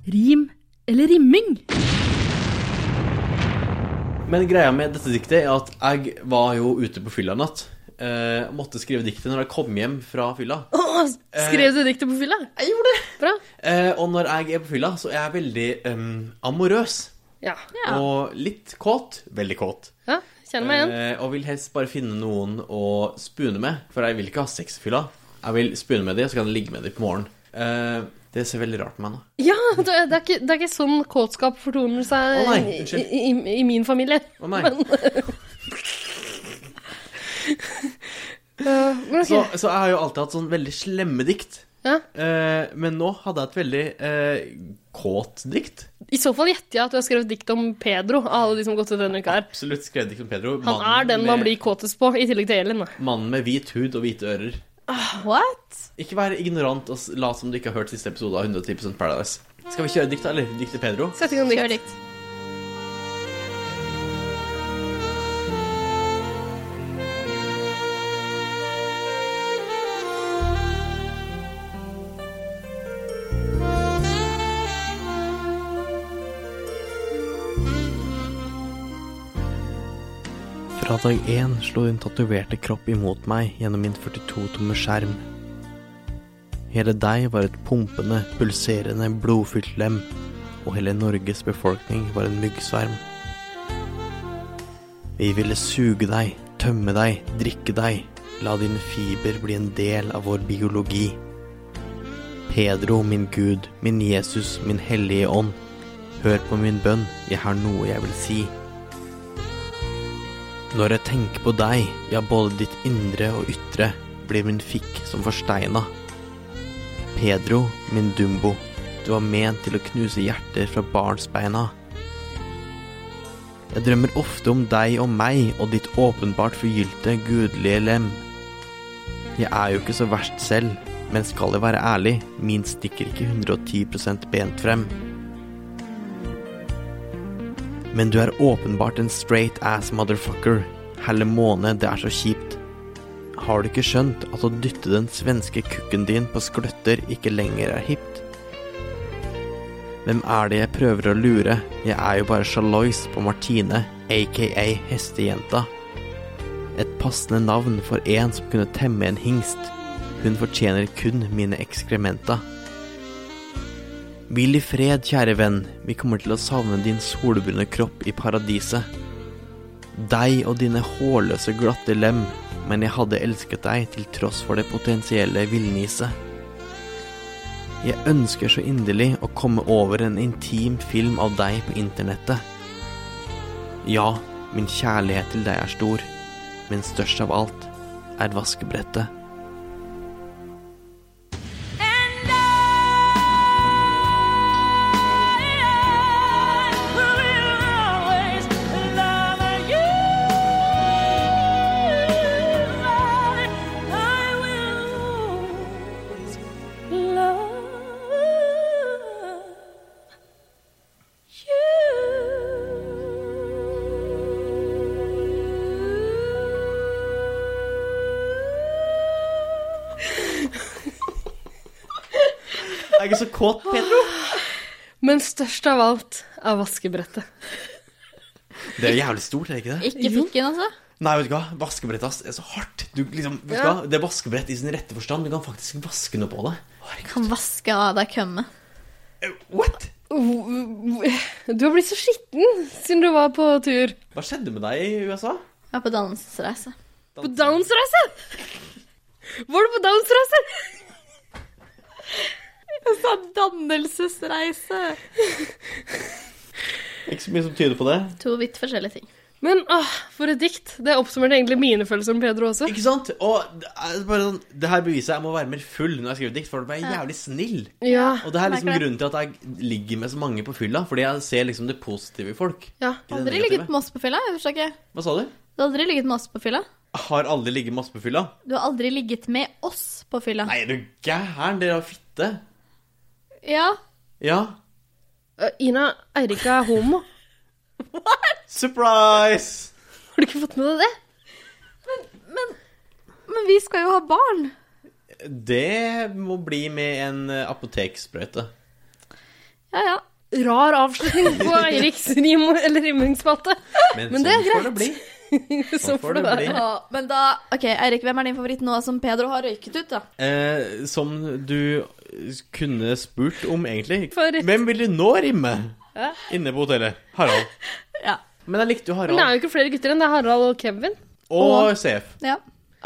Speaker 10: Rim eller rimming?
Speaker 3: Men greia med dette diktet er at jeg var jo ute på fylla en natt. Eh, måtte skrive diktet når jeg kom hjem fra fylla.
Speaker 2: Åh,
Speaker 3: Eh.
Speaker 2: skrev du diktet på fylla?
Speaker 3: Jeg gjorde det!
Speaker 2: Bra.
Speaker 3: Eh, og når jeg er på fylla, så er jeg veldig em, amorøs.
Speaker 2: Ja.
Speaker 4: Ja.
Speaker 3: Og litt kåt. Veldig kåt.
Speaker 2: ja kjenner meg igjen.
Speaker 3: Eh, og vil helst bare finne noen å spune med, for jeg vil ikke ha sex i fylla. Jeg vil spune med dem, så kan jeg ligge med dem på morgenen. Eh, det ser veldig rart på meg nå.
Speaker 2: Ja, det er, det er, ikke, det er ikke sånn kåtskap fortoner seg
Speaker 3: Å nei,
Speaker 2: i,
Speaker 3: unnskyld.
Speaker 2: i, i min familie.
Speaker 3: Å nei.
Speaker 2: Eh, men ok.
Speaker 3: Så, så jeg har jo alltid hatt sånn veldig slemme dikt.
Speaker 2: Ja.
Speaker 3: Eh, men nå hadde jeg et veldig eh, kåt dikt.
Speaker 2: I så fall gjetter jeg at du har skrevet dikt om Pedro. av Alle de som har gått ut denne uka her.
Speaker 3: Absolutt skrevet dikt om Pedro.
Speaker 2: Han er den man
Speaker 3: med,
Speaker 2: blir kåtest på, i tillegg til Elin. da.
Speaker 3: Mannen med hvit hud og hvite ører.
Speaker 2: Ah,
Speaker 4: What?
Speaker 3: Ikke vær ignorant og s- lat som du ikke har hørt siste episode av 110 Paradise. Skal vi kjøre dikt, da, eller? Dikt til Pedro?
Speaker 2: Sett i gang
Speaker 4: Kjør
Speaker 2: dikt.
Speaker 4: dikt.
Speaker 3: Fra dag én slo din tatoverte kropp imot meg gjennom min 42-tomme skjerm. Hele deg var et pumpende, pulserende, blodfylt lem, og hele Norges befolkning var en myggsverm. Vi ville suge deg, tømme deg, drikke deg, la din fiber bli en del av vår biologi. Pedro, min Gud, min Jesus, min Hellige Ånd, hør på min bønn, jeg har noe jeg vil si. Når jeg tenker på deg, ja, både ditt indre og ytre, blir min fikk som forsteina. Pedro, min dumbo, du var ment til å knuse hjerter fra barnsbeina. Jeg drømmer ofte om deg og meg og ditt åpenbart forgylte, gudelige lem. Jeg er jo ikke så verst selv, men skal jeg være ærlig, min stikker ikke 110 bent frem. Men du er åpenbart en straight ass motherfucker. Helle måne, det er så kjipt. Har du ikke skjønt at å dytte den svenske kukken din på skløtter ikke lenger er hipt? Hvem er det jeg prøver å lure? Jeg er jo bare Charlois på Martine, aka Hestejenta. Et passende navn for en som kunne temme en hingst. Hun fortjener kun mine ekskrementa. Hvil i fred, kjære venn. Vi kommer til å savne din solbrune kropp i paradiset. Deg og dine hårløse, glatte lem. Men jeg hadde elsket deg til tross for det potensielle villniset. Jeg ønsker så inderlig å komme over en intim film av deg på internettet. Ja, min kjærlighet til deg er stor, men størst av alt er vaskebrettet. Jeg er ikke så kåt, Pedro.
Speaker 2: Men størst av alt er vaskebrettet.
Speaker 3: Det er jævlig stort, er det ikke det?
Speaker 4: Ikke fikken, altså?
Speaker 3: Nei, vet du hva? Vaskebrett ass, er så hardt. Du, liksom, vet du
Speaker 4: Ja.
Speaker 3: hva? Det er vaskebrett i sin rette forstand. Du kan faktisk vaske noe på det.
Speaker 4: Kan vaske av deg kømme.
Speaker 3: What?
Speaker 2: Du har blitt så skitten siden du var på tur.
Speaker 3: Hva skjedde med deg i USA?
Speaker 4: Jeg er på dannelsesreise.
Speaker 2: På Downs-reise! Var du på Downs-reise?
Speaker 4: Jeg sa dannelsesreise!
Speaker 3: Ikke så mye som tyder på det.
Speaker 4: To vidt forskjellige ting.
Speaker 2: Men åh, for et dikt. Det oppsummerte egentlig mine følelser om Pedro også.
Speaker 3: Ikke sant? Og det er bare sånn, det her beviser jeg må være mer full når jeg skriver dikt, for da blir jeg
Speaker 2: Ja.
Speaker 3: jævlig snill.
Speaker 2: Ja,
Speaker 3: Og det her er liksom
Speaker 2: merker det.
Speaker 3: grunnen til at jeg ligger med så mange på fylla, fordi jeg ser liksom det positive i folk.
Speaker 4: Ja,
Speaker 3: det
Speaker 4: Aldri
Speaker 3: negative.
Speaker 4: ligget med oss på fylla. Jeg forstår ikke.
Speaker 3: Hva sa du?
Speaker 4: Du har aldri ligget med oss på fylla.
Speaker 3: Har aldri ligget masse på fylla?
Speaker 4: Du har aldri ligget med oss på fylla.
Speaker 3: Nei, er du gæren? Dere har fitte.
Speaker 4: Ja.
Speaker 3: Ja.
Speaker 2: Øh, Ina, Eirik er homo.
Speaker 3: Surprise!
Speaker 2: Har du ikke fått med deg det?
Speaker 4: Men vi skal jo ha barn.
Speaker 3: Det må bli med en eh, apoteksprøyte.
Speaker 4: Ja, ja.
Speaker 2: Rar avslutning på Eiriks rim eller rimingsspalte.
Speaker 3: Men
Speaker 2: Men det er
Speaker 3: sånn får
Speaker 2: greit.
Speaker 3: det
Speaker 2: Sånn får det være.
Speaker 4: Ja, men da OK, Eirik, hvem er din favoritt nå som Pedro har røyket ut, da?
Speaker 3: Eh, som du kunne spurt om, egentlig.
Speaker 2: For-
Speaker 3: Hvem vil du nå rimme
Speaker 2: Ja.
Speaker 3: inne på hotellet? Harald.
Speaker 4: Ja.
Speaker 3: Men jeg likte jo
Speaker 2: Men det er
Speaker 3: Harald.
Speaker 2: jo ikke flere gutter enn det er Harald og Kevin.
Speaker 3: Og CF.
Speaker 4: Ja.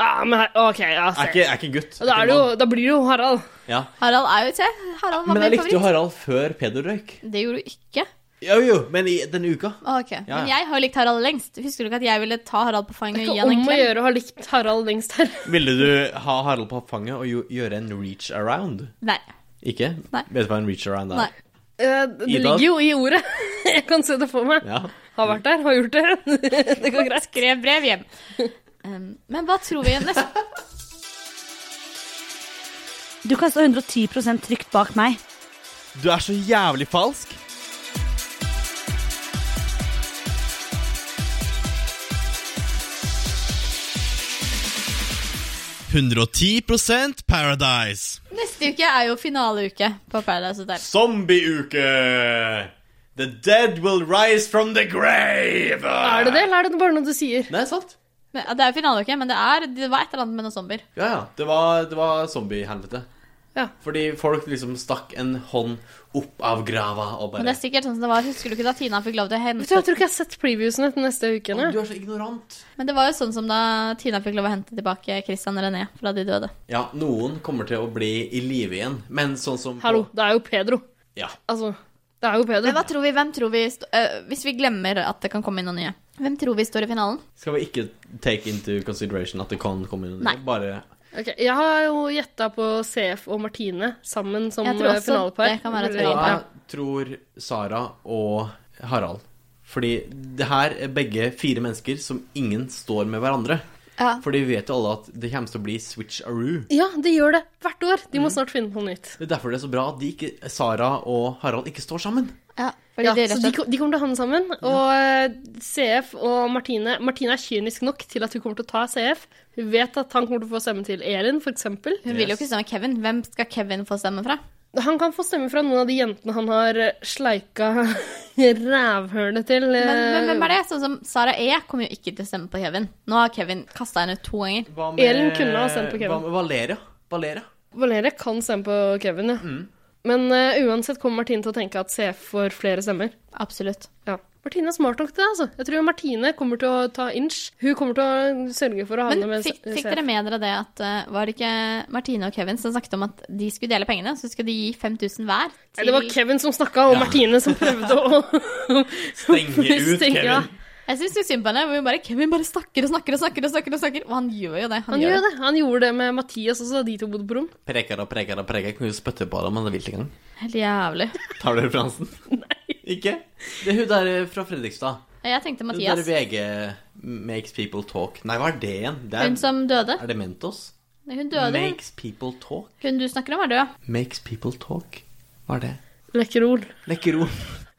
Speaker 2: Ah, men her, ok, ja,
Speaker 3: Er ikke, er ikke gutt.
Speaker 2: Og Da, er det jo, da blir det jo Harald.
Speaker 3: Ja.
Speaker 4: Harald er jo ikke Harald var
Speaker 3: Men jeg
Speaker 4: min
Speaker 3: likte jo
Speaker 4: favoritt.
Speaker 3: Harald før Peder røyk.
Speaker 4: Det gjorde du ikke.
Speaker 3: Jo, jo, men i denne uka.
Speaker 4: Å, Ah, Ok,
Speaker 3: Ja,
Speaker 4: Men
Speaker 3: ja.
Speaker 4: jeg har jo likt Harald lengst. Husker du ikke at jeg ville ta Harald på fanget
Speaker 2: Det
Speaker 4: og
Speaker 2: er
Speaker 4: gi
Speaker 2: ikke
Speaker 4: han en
Speaker 2: om å
Speaker 4: klem?
Speaker 2: gjøre å ha likt Harald lengst her.
Speaker 3: Ville du ha Harald på fanget og jo- gjøre en reach around?
Speaker 4: Nei.
Speaker 3: Ikke?
Speaker 4: Nei.
Speaker 3: Vet du hva en reach around er?
Speaker 4: Nei.
Speaker 2: Eh, Det
Speaker 3: Ida?
Speaker 2: ligger jo i ordet. Jeg kan se det for meg.
Speaker 3: Ja.
Speaker 2: Har vært der, har gjort det. Det går greit.
Speaker 4: Skrev brev hjem. Um, men hva tror vi neste
Speaker 10: Du kan stå 110 trygt bak meg.
Speaker 6: Du er så jævlig falsk. «110% Paradise.
Speaker 4: Neste uke er jo finaleuke på Paradise Hotel.
Speaker 3: Zombieuke! The dead will rise from the grave!
Speaker 2: Er det det, eller er det bare noe du sier?
Speaker 3: Nei, sant?
Speaker 4: Men, ja, det er jo finaleuke, men det, er, det var et eller annet med noen zombier.
Speaker 3: Ja, ja. Det var, det var zombiehelvete.
Speaker 2: Ja.
Speaker 3: Fordi folk liksom stakk en hånd opp av grava og
Speaker 4: Men det
Speaker 3: bare
Speaker 4: er sikkert sånn som det var. Husker du ikke da Tina fikk lov til
Speaker 2: Vet
Speaker 4: å
Speaker 2: du,
Speaker 4: hente
Speaker 2: Jeg tror ikke jeg har sett previewsene til neste uke.
Speaker 3: Å,
Speaker 2: Nei.
Speaker 3: Du er så ignorant.
Speaker 4: Men det var jo sånn som da Tina fikk lov å hente tilbake Christian René fra de døde.
Speaker 3: Ja, noen kommer til å bli i live igjen, men sånn som på-
Speaker 2: Hallo, det er jo Pedro.
Speaker 3: Ja.
Speaker 2: Altså, det er jo Pedro.
Speaker 4: Men hva tror vi, hvem tror vi st øh, Hvis vi glemmer at det kan komme inn noen nye, hvem tror vi står i finalen?
Speaker 3: Skal vi ikke take into consideration at det kan komme inn
Speaker 4: Nei.
Speaker 3: Bare
Speaker 2: Ok, jeg har jo gjetta på CF og Martine sammen som
Speaker 4: Jeg tror
Speaker 2: eh,
Speaker 4: også
Speaker 2: finalepar.
Speaker 4: det kan være et
Speaker 2: Eller-
Speaker 4: finalepar.
Speaker 2: Ja.
Speaker 3: Jeg tror Sara og Harald. Fordi det her er begge fire mennesker som ingen står med hverandre.
Speaker 4: Ja.
Speaker 3: For de vet jo alle at det kommer til å bli switch-aroo.
Speaker 2: Ja, det gjør det. Hvert år. De må
Speaker 4: Mm.
Speaker 2: snart finne på noe nytt.
Speaker 3: Det er derfor det er så bra at de ikke, Sara og Harald ikke står sammen.
Speaker 4: Ja, fordi
Speaker 2: Ja,
Speaker 4: de
Speaker 2: så
Speaker 4: rett og
Speaker 2: de,
Speaker 4: slett
Speaker 2: ko- de kommer til å havne sammen. Og eh, CF og Martine Martine er kynisk nok til at hun kommer til å ta CF. Hun vet at han kommer til å få stemme til Elin, f.eks.
Speaker 4: Hun vil jo ikke stemme Kevin. Hvem skal Kevin få stemme fra?
Speaker 2: Han kan få stemme fra noen av de jentene han har eh, sleika rævhølet til. eh,
Speaker 4: Men, men hvem er det? Sånn som Sara E kommer jo ikke til å stemme på Kevin. Nå har Kevin kasta henne to ganger.
Speaker 3: Hva
Speaker 2: Elin kunne ha stemt på Kevin.
Speaker 3: Hva med Valeria? Valeria?
Speaker 2: Valeria kan stemme på Kevin,
Speaker 3: Mm.
Speaker 2: ja. Men eh, uansett kommer Martine til å tenke at CF får flere stemmer.
Speaker 4: Absolutt.
Speaker 2: Ja. Martine er smart nok til det, altså. Jeg tror Martine kommer til å ta inch. Hun kommer til å sørge for å havne
Speaker 4: Men
Speaker 2: med
Speaker 4: fikk, fikk dere med dere det at eh, Var det ikke Martine og Kevin som snakket om at de skulle dele pengene? Så skulle de gi 5000 hver?
Speaker 2: Nei, Det var Kevin som snakka, og Martine som prøvde å
Speaker 3: Stenge ut
Speaker 2: Stenge-
Speaker 3: Kevin.
Speaker 2: ja.
Speaker 4: Jeg syns jo synd på henne. hvor hun Bare, Kevin bare snakker og snakker og snakker. Og snakker og snakker Og han gjør jo det. Han,
Speaker 2: Han gjør det. Han gjorde det med Mathias også, da de to bodde på rom.
Speaker 3: Preker og preker og preker. Kan jo spytte på dem, men det vil ikke engang.
Speaker 4: Helt jævlig.
Speaker 3: Tar du referansen? Nei. Ikke? Det er hun der eh, fra Fredrikstad.
Speaker 4: Jeg tenkte
Speaker 3: Hun
Speaker 4: Mathias.
Speaker 3: der VG Makes People Talk. Nei, hva er det igjen? Det er,
Speaker 4: Hun som døde.
Speaker 3: er det Mentos?
Speaker 4: Hun døde. hun.
Speaker 3: Makes People Talk?
Speaker 4: Hun du snakker om, er død.
Speaker 3: Makes People Talk? Hva er det?
Speaker 2: Lekkerol.
Speaker 3: Lekkerol.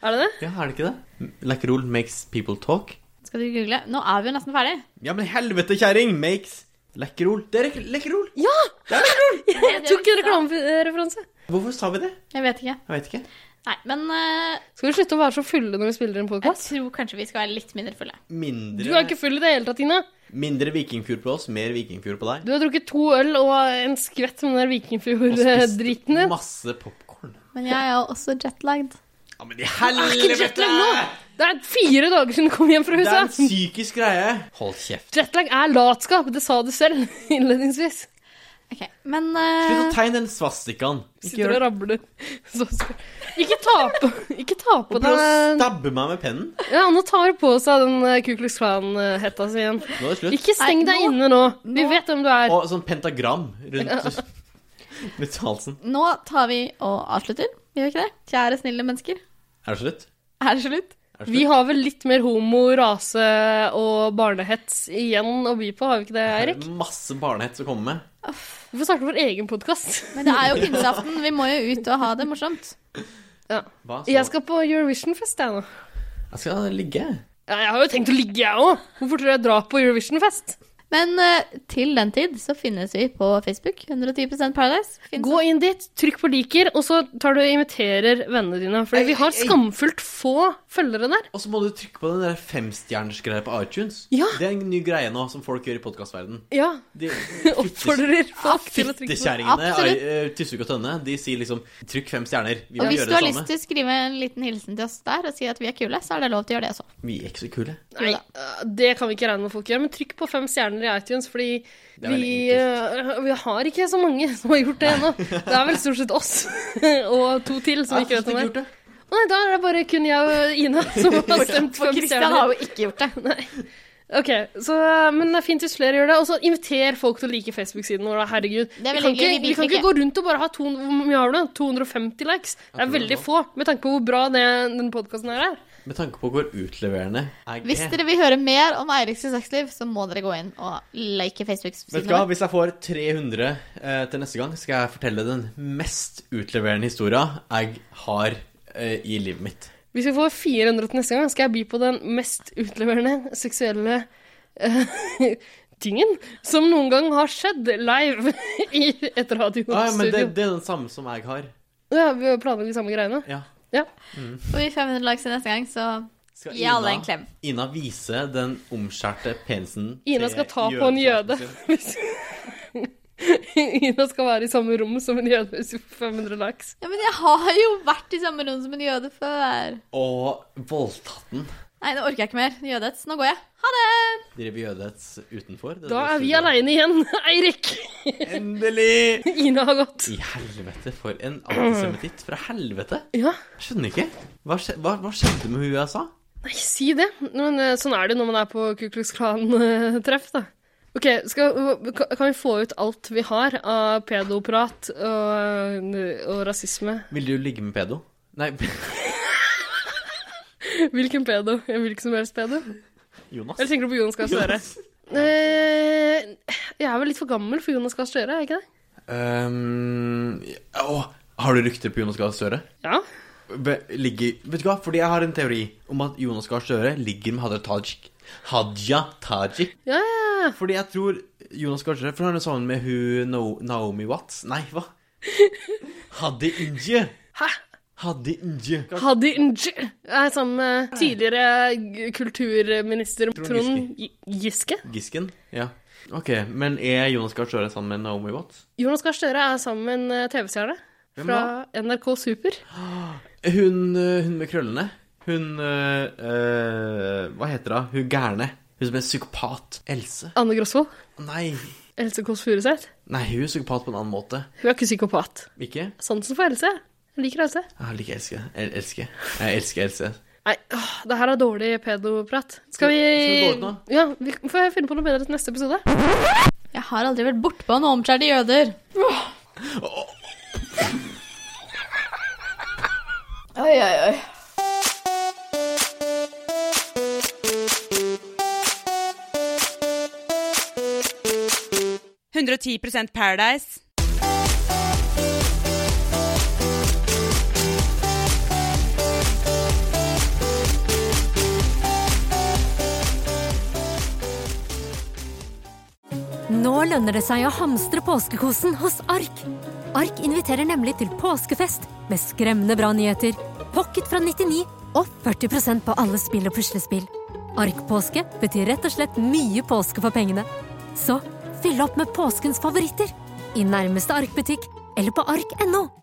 Speaker 2: Er det det?
Speaker 3: Ja, er det ikke det? Lekkerol makes people talk.
Speaker 4: Skal du google? Nå er vi jo nesten ferdig.
Speaker 3: Ja, men helvete, kjerring! Makes lekkerol. Det er lek- lekkerol!
Speaker 2: Ja!
Speaker 3: Det er lekkerol!
Speaker 2: Jeg tok en reklamereferanse.
Speaker 3: Hvorfor sa vi det?
Speaker 4: Jeg vet ikke.
Speaker 3: Jeg vet ikke.
Speaker 4: Nei, men eh,
Speaker 2: Skal vi slutte å være så fulle når vi spiller en
Speaker 4: jeg
Speaker 2: podkast?
Speaker 4: tror kanskje vi skal være litt mindre fulle.
Speaker 2: Du
Speaker 3: Mindre,
Speaker 2: er ikke full i det hele tatt, Tina.
Speaker 3: mindre vikingfjord på oss, mer vikingfjord på deg.
Speaker 2: Du har drukket to øl og en skvett med den der
Speaker 3: Og spist
Speaker 2: Vikingfjord-driten din.
Speaker 3: masse popkorn.
Speaker 4: Men jeg er jo også jetlagd.
Speaker 3: Ja, men i
Speaker 2: Ikke
Speaker 3: helvete!
Speaker 2: jetlag nå! Det er fire dager siden du kom hjem fra
Speaker 3: Det er en
Speaker 2: huset.
Speaker 3: psykisk greie. Hold kjeft.
Speaker 2: Jetlag er latskap, det sa du selv innledningsvis.
Speaker 4: Ok, men eh,
Speaker 3: Slutt å tegne den svastikaen. Ikke
Speaker 2: Sitter
Speaker 3: gjør
Speaker 2: og
Speaker 3: det.
Speaker 2: rabler. Så skal- Ikke ta på Ikke ta på
Speaker 3: Prøv å
Speaker 2: den
Speaker 3: stabbe meg med pennen.
Speaker 2: Ja, nå tar hun på seg den eh, Ku Klux Klan-hetta si igjen.
Speaker 3: Nå er det slutt.
Speaker 2: Ikke steng
Speaker 4: Nei,
Speaker 2: deg
Speaker 4: nå-
Speaker 2: inne nå. Vi
Speaker 4: nå-
Speaker 2: vet hvem du er.
Speaker 3: Og sånn pentagram rundt, rundt halsen.
Speaker 4: nå tar vi og avslutter. Gjør vi ikke det? Kjære, snille mennesker.
Speaker 3: Er det slutt?
Speaker 4: Er det slutt?
Speaker 3: Er det slutt?
Speaker 2: Vi har vel litt mer homo, rase og barnehets igjen å by på, har vi ikke det, Eirik?
Speaker 3: Masse barnehets å komme med.
Speaker 2: Hvorfor starter vår egen podkast?
Speaker 4: Men det er jo pinseaften. Vi må jo ut og ha det morsomt.
Speaker 2: Ja.
Speaker 3: Hva, så-
Speaker 2: Jeg skal på Eurovision-fest, jeg nå.
Speaker 3: Jeg skal ligge.
Speaker 2: Ja, jeg har jo tenkt å ligge, jeg òg. Hvorfor tror du jeg drar på Eurovision-fest?
Speaker 4: Men eh, til den tid så finnes vi på Facebook. 110 Paradise. Finnes
Speaker 2: Gå inn dit, trykk på liker, og så tar du og inviterer vennene dine. For vi har skamfullt få følgere der.
Speaker 3: Og så må du trykke på den der femstjernersgreia på iTunes.
Speaker 2: Ja.
Speaker 3: Det er en ny greie nå som folk gjør i podkastverden.
Speaker 2: Ja.
Speaker 3: De
Speaker 2: Oppfordrer folk til å trykke på.
Speaker 3: Fittekjerringene
Speaker 4: Absolutt.
Speaker 3: eh, Tusvik og Tønne de sier liksom 'trykk fem stjerner'. Vi
Speaker 4: Og
Speaker 3: må
Speaker 4: hvis
Speaker 3: gjøre
Speaker 4: du har
Speaker 3: det
Speaker 4: lyst
Speaker 3: samme.
Speaker 4: til å skrive en liten hilsen til oss der og si at vi er kule, så er det lov til å gjøre det også.
Speaker 3: Vi er ikke så kule.
Speaker 2: Nei, eh, det kan vi ikke regne med folk gjør, men trykk på fem stjerner i iTunes, fordi
Speaker 3: er veldig
Speaker 2: vi, eh, vi har ikke så mange som har gjort det ennå. Det er vel stort sett oss og to til som ikke
Speaker 3: Jeg har
Speaker 2: vet om
Speaker 3: gjort
Speaker 2: det.
Speaker 3: det.
Speaker 2: Å Nei, da er det bare kun jeg og Ina som har stemt
Speaker 4: For
Speaker 2: fem
Speaker 4: Christian
Speaker 2: stjerner.
Speaker 4: har jo ikke gjort det.
Speaker 2: Ok, så, eh, Men det er fint hvis flere gjør det. Og så inviter folk til å like Facebook-siden vår. da, Herregud.
Speaker 4: Det er
Speaker 2: Vi
Speaker 4: veldig
Speaker 2: kan,
Speaker 4: hyggelig,
Speaker 2: ikke,
Speaker 4: vi
Speaker 2: vi kan
Speaker 4: biter
Speaker 2: ikke gå rundt og bare ha to, hvor mye har du? 250 likes. Det er
Speaker 3: tror det
Speaker 2: veldig
Speaker 3: nå.
Speaker 2: få, med tanke på hvor bra det, den podkasten her er.
Speaker 3: Med tanke på hvor utleverende er det.
Speaker 4: Hvis dere vil høre mer om Eiriks sexliv, så må dere gå inn og like
Speaker 3: Vet
Speaker 4: Facebook-siden
Speaker 3: du hva,
Speaker 4: vår.
Speaker 3: Hvis jeg får 300 eh, til neste gang, skal jeg fortelle den mest utleverende historia jeg har eh, i livet mitt.
Speaker 2: Hvis vi får 400 til neste gang, skal jeg by på den mest utleverende seksuelle eh, tingen som noen gang har skjedd live i et radiostudio.
Speaker 3: Ah, ja, men det, det er den samme som jeg har.
Speaker 2: Ja, vi planlegger de samme greiene.
Speaker 3: Ja.
Speaker 2: Ja.
Speaker 4: Får vi 500 likes til neste gang, så
Speaker 3: Skal
Speaker 4: gi alle en klem.
Speaker 3: Ina vise den omskjærte penisen
Speaker 2: Ina
Speaker 3: til
Speaker 2: skal ta på en jøde.
Speaker 3: jødekjæresten sin?
Speaker 2: Hvis... Ina skal være i samme rom som en jøde hvis vi får 500 likes.
Speaker 4: Ja, men jeg har jo vært i samme rom som en jøde før.
Speaker 3: Og voldtatt den.
Speaker 4: Nei, nå orker jeg ikke mer jødehets. Nå går jeg. Ha det!
Speaker 3: Driver jødehets utenfor. det
Speaker 2: Da
Speaker 3: der
Speaker 2: er vi
Speaker 3: studioet.
Speaker 2: aleine igjen, Eirik.
Speaker 3: Endelig!
Speaker 2: Ina har gått.
Speaker 3: I helvete, for en antisemitt fra helvete.
Speaker 2: Ja,
Speaker 3: Jeg skjønner ikke. Hva, skje, hva, hva skjedde med hun jeg sa?
Speaker 2: nei, si det. Men eh, sånn er det når man er på Ku Klux Klan-treff, da. Ok, skal, ka- Kan vi få ut alt vi har av pedoprat og, eh, og rasisme?
Speaker 3: Vil du ligge med pedo? Nei,
Speaker 2: Hvilken pedo? Hvilken som helst pedo?
Speaker 3: Jonas.
Speaker 2: Eller tenker du på Jonas Gahr Støre?
Speaker 3: Jonas.
Speaker 2: Eh, jeg er vel litt for gammel for Jonas Gahr Støre, er jeg ikke det?
Speaker 3: Ehm, å, har du rykte på Jonas Gahr Støre?
Speaker 2: Ja.
Speaker 3: Be, ligger, vet du hva? Fordi jeg har en teori om at Jonas Gahr Støre ligger med Hadia Tajik. Hadia Tajik.
Speaker 2: Ja, ja, ja.
Speaker 3: Fordi jeg tror Jonas Gahr Støre For han er sammen med hun no, Naomi Watts. Nei, hva? Hadde Inje.
Speaker 2: Hæ?
Speaker 3: Hadde Inje.
Speaker 2: Hadi Nj er sammen med tidligere g- kulturminister
Speaker 3: Trond
Speaker 2: Trond Gi- Giske.
Speaker 3: Gisken. Ja. Ok, men er Jonas Gahr Støre sammen med Naomi Watts?
Speaker 2: Jonas Gahr Støre er sammen med en eh, TV-stjerne
Speaker 3: Hvem
Speaker 2: fra NRK Super.
Speaker 3: Hun, eh, hun med krøllene? Hun øh, øh, Hva heter hun? Hun gærne. Hun som er psykopat. Else?
Speaker 2: Anne Grosvold?
Speaker 3: Nei.
Speaker 2: Else Kåss Furuseth?
Speaker 3: Nei, hun er psykopat på en annen måte.
Speaker 2: Hun er ikke psykopat.
Speaker 3: Ikke?
Speaker 2: Sansen for Else. Jeg liker Else.
Speaker 3: Jeg liker Else. Jeg elsker Jeg elsker Else.
Speaker 2: Nei, åh, det her er dårlig pedoprat. Skal vi
Speaker 3: Skal vi gå ut nå?
Speaker 2: Ja, vi får finne på noe bedre til neste episode.
Speaker 4: Jeg har aldri vært bortpå noen omskjærte jøder. Oi, oi, oi.
Speaker 11: Paradise.
Speaker 1: Nå lønner det seg å hamstre påskekosen hos Ark. Ark inviterer nemlig til påskefest med skremmende bra nyheter, pocket fra 99 og 40 på alle spill og puslespill. Ark-påske betyr rett og slett mye påske for pengene. Så fyll opp med påskens favoritter i nærmeste Ark-butikk eller på ark.no.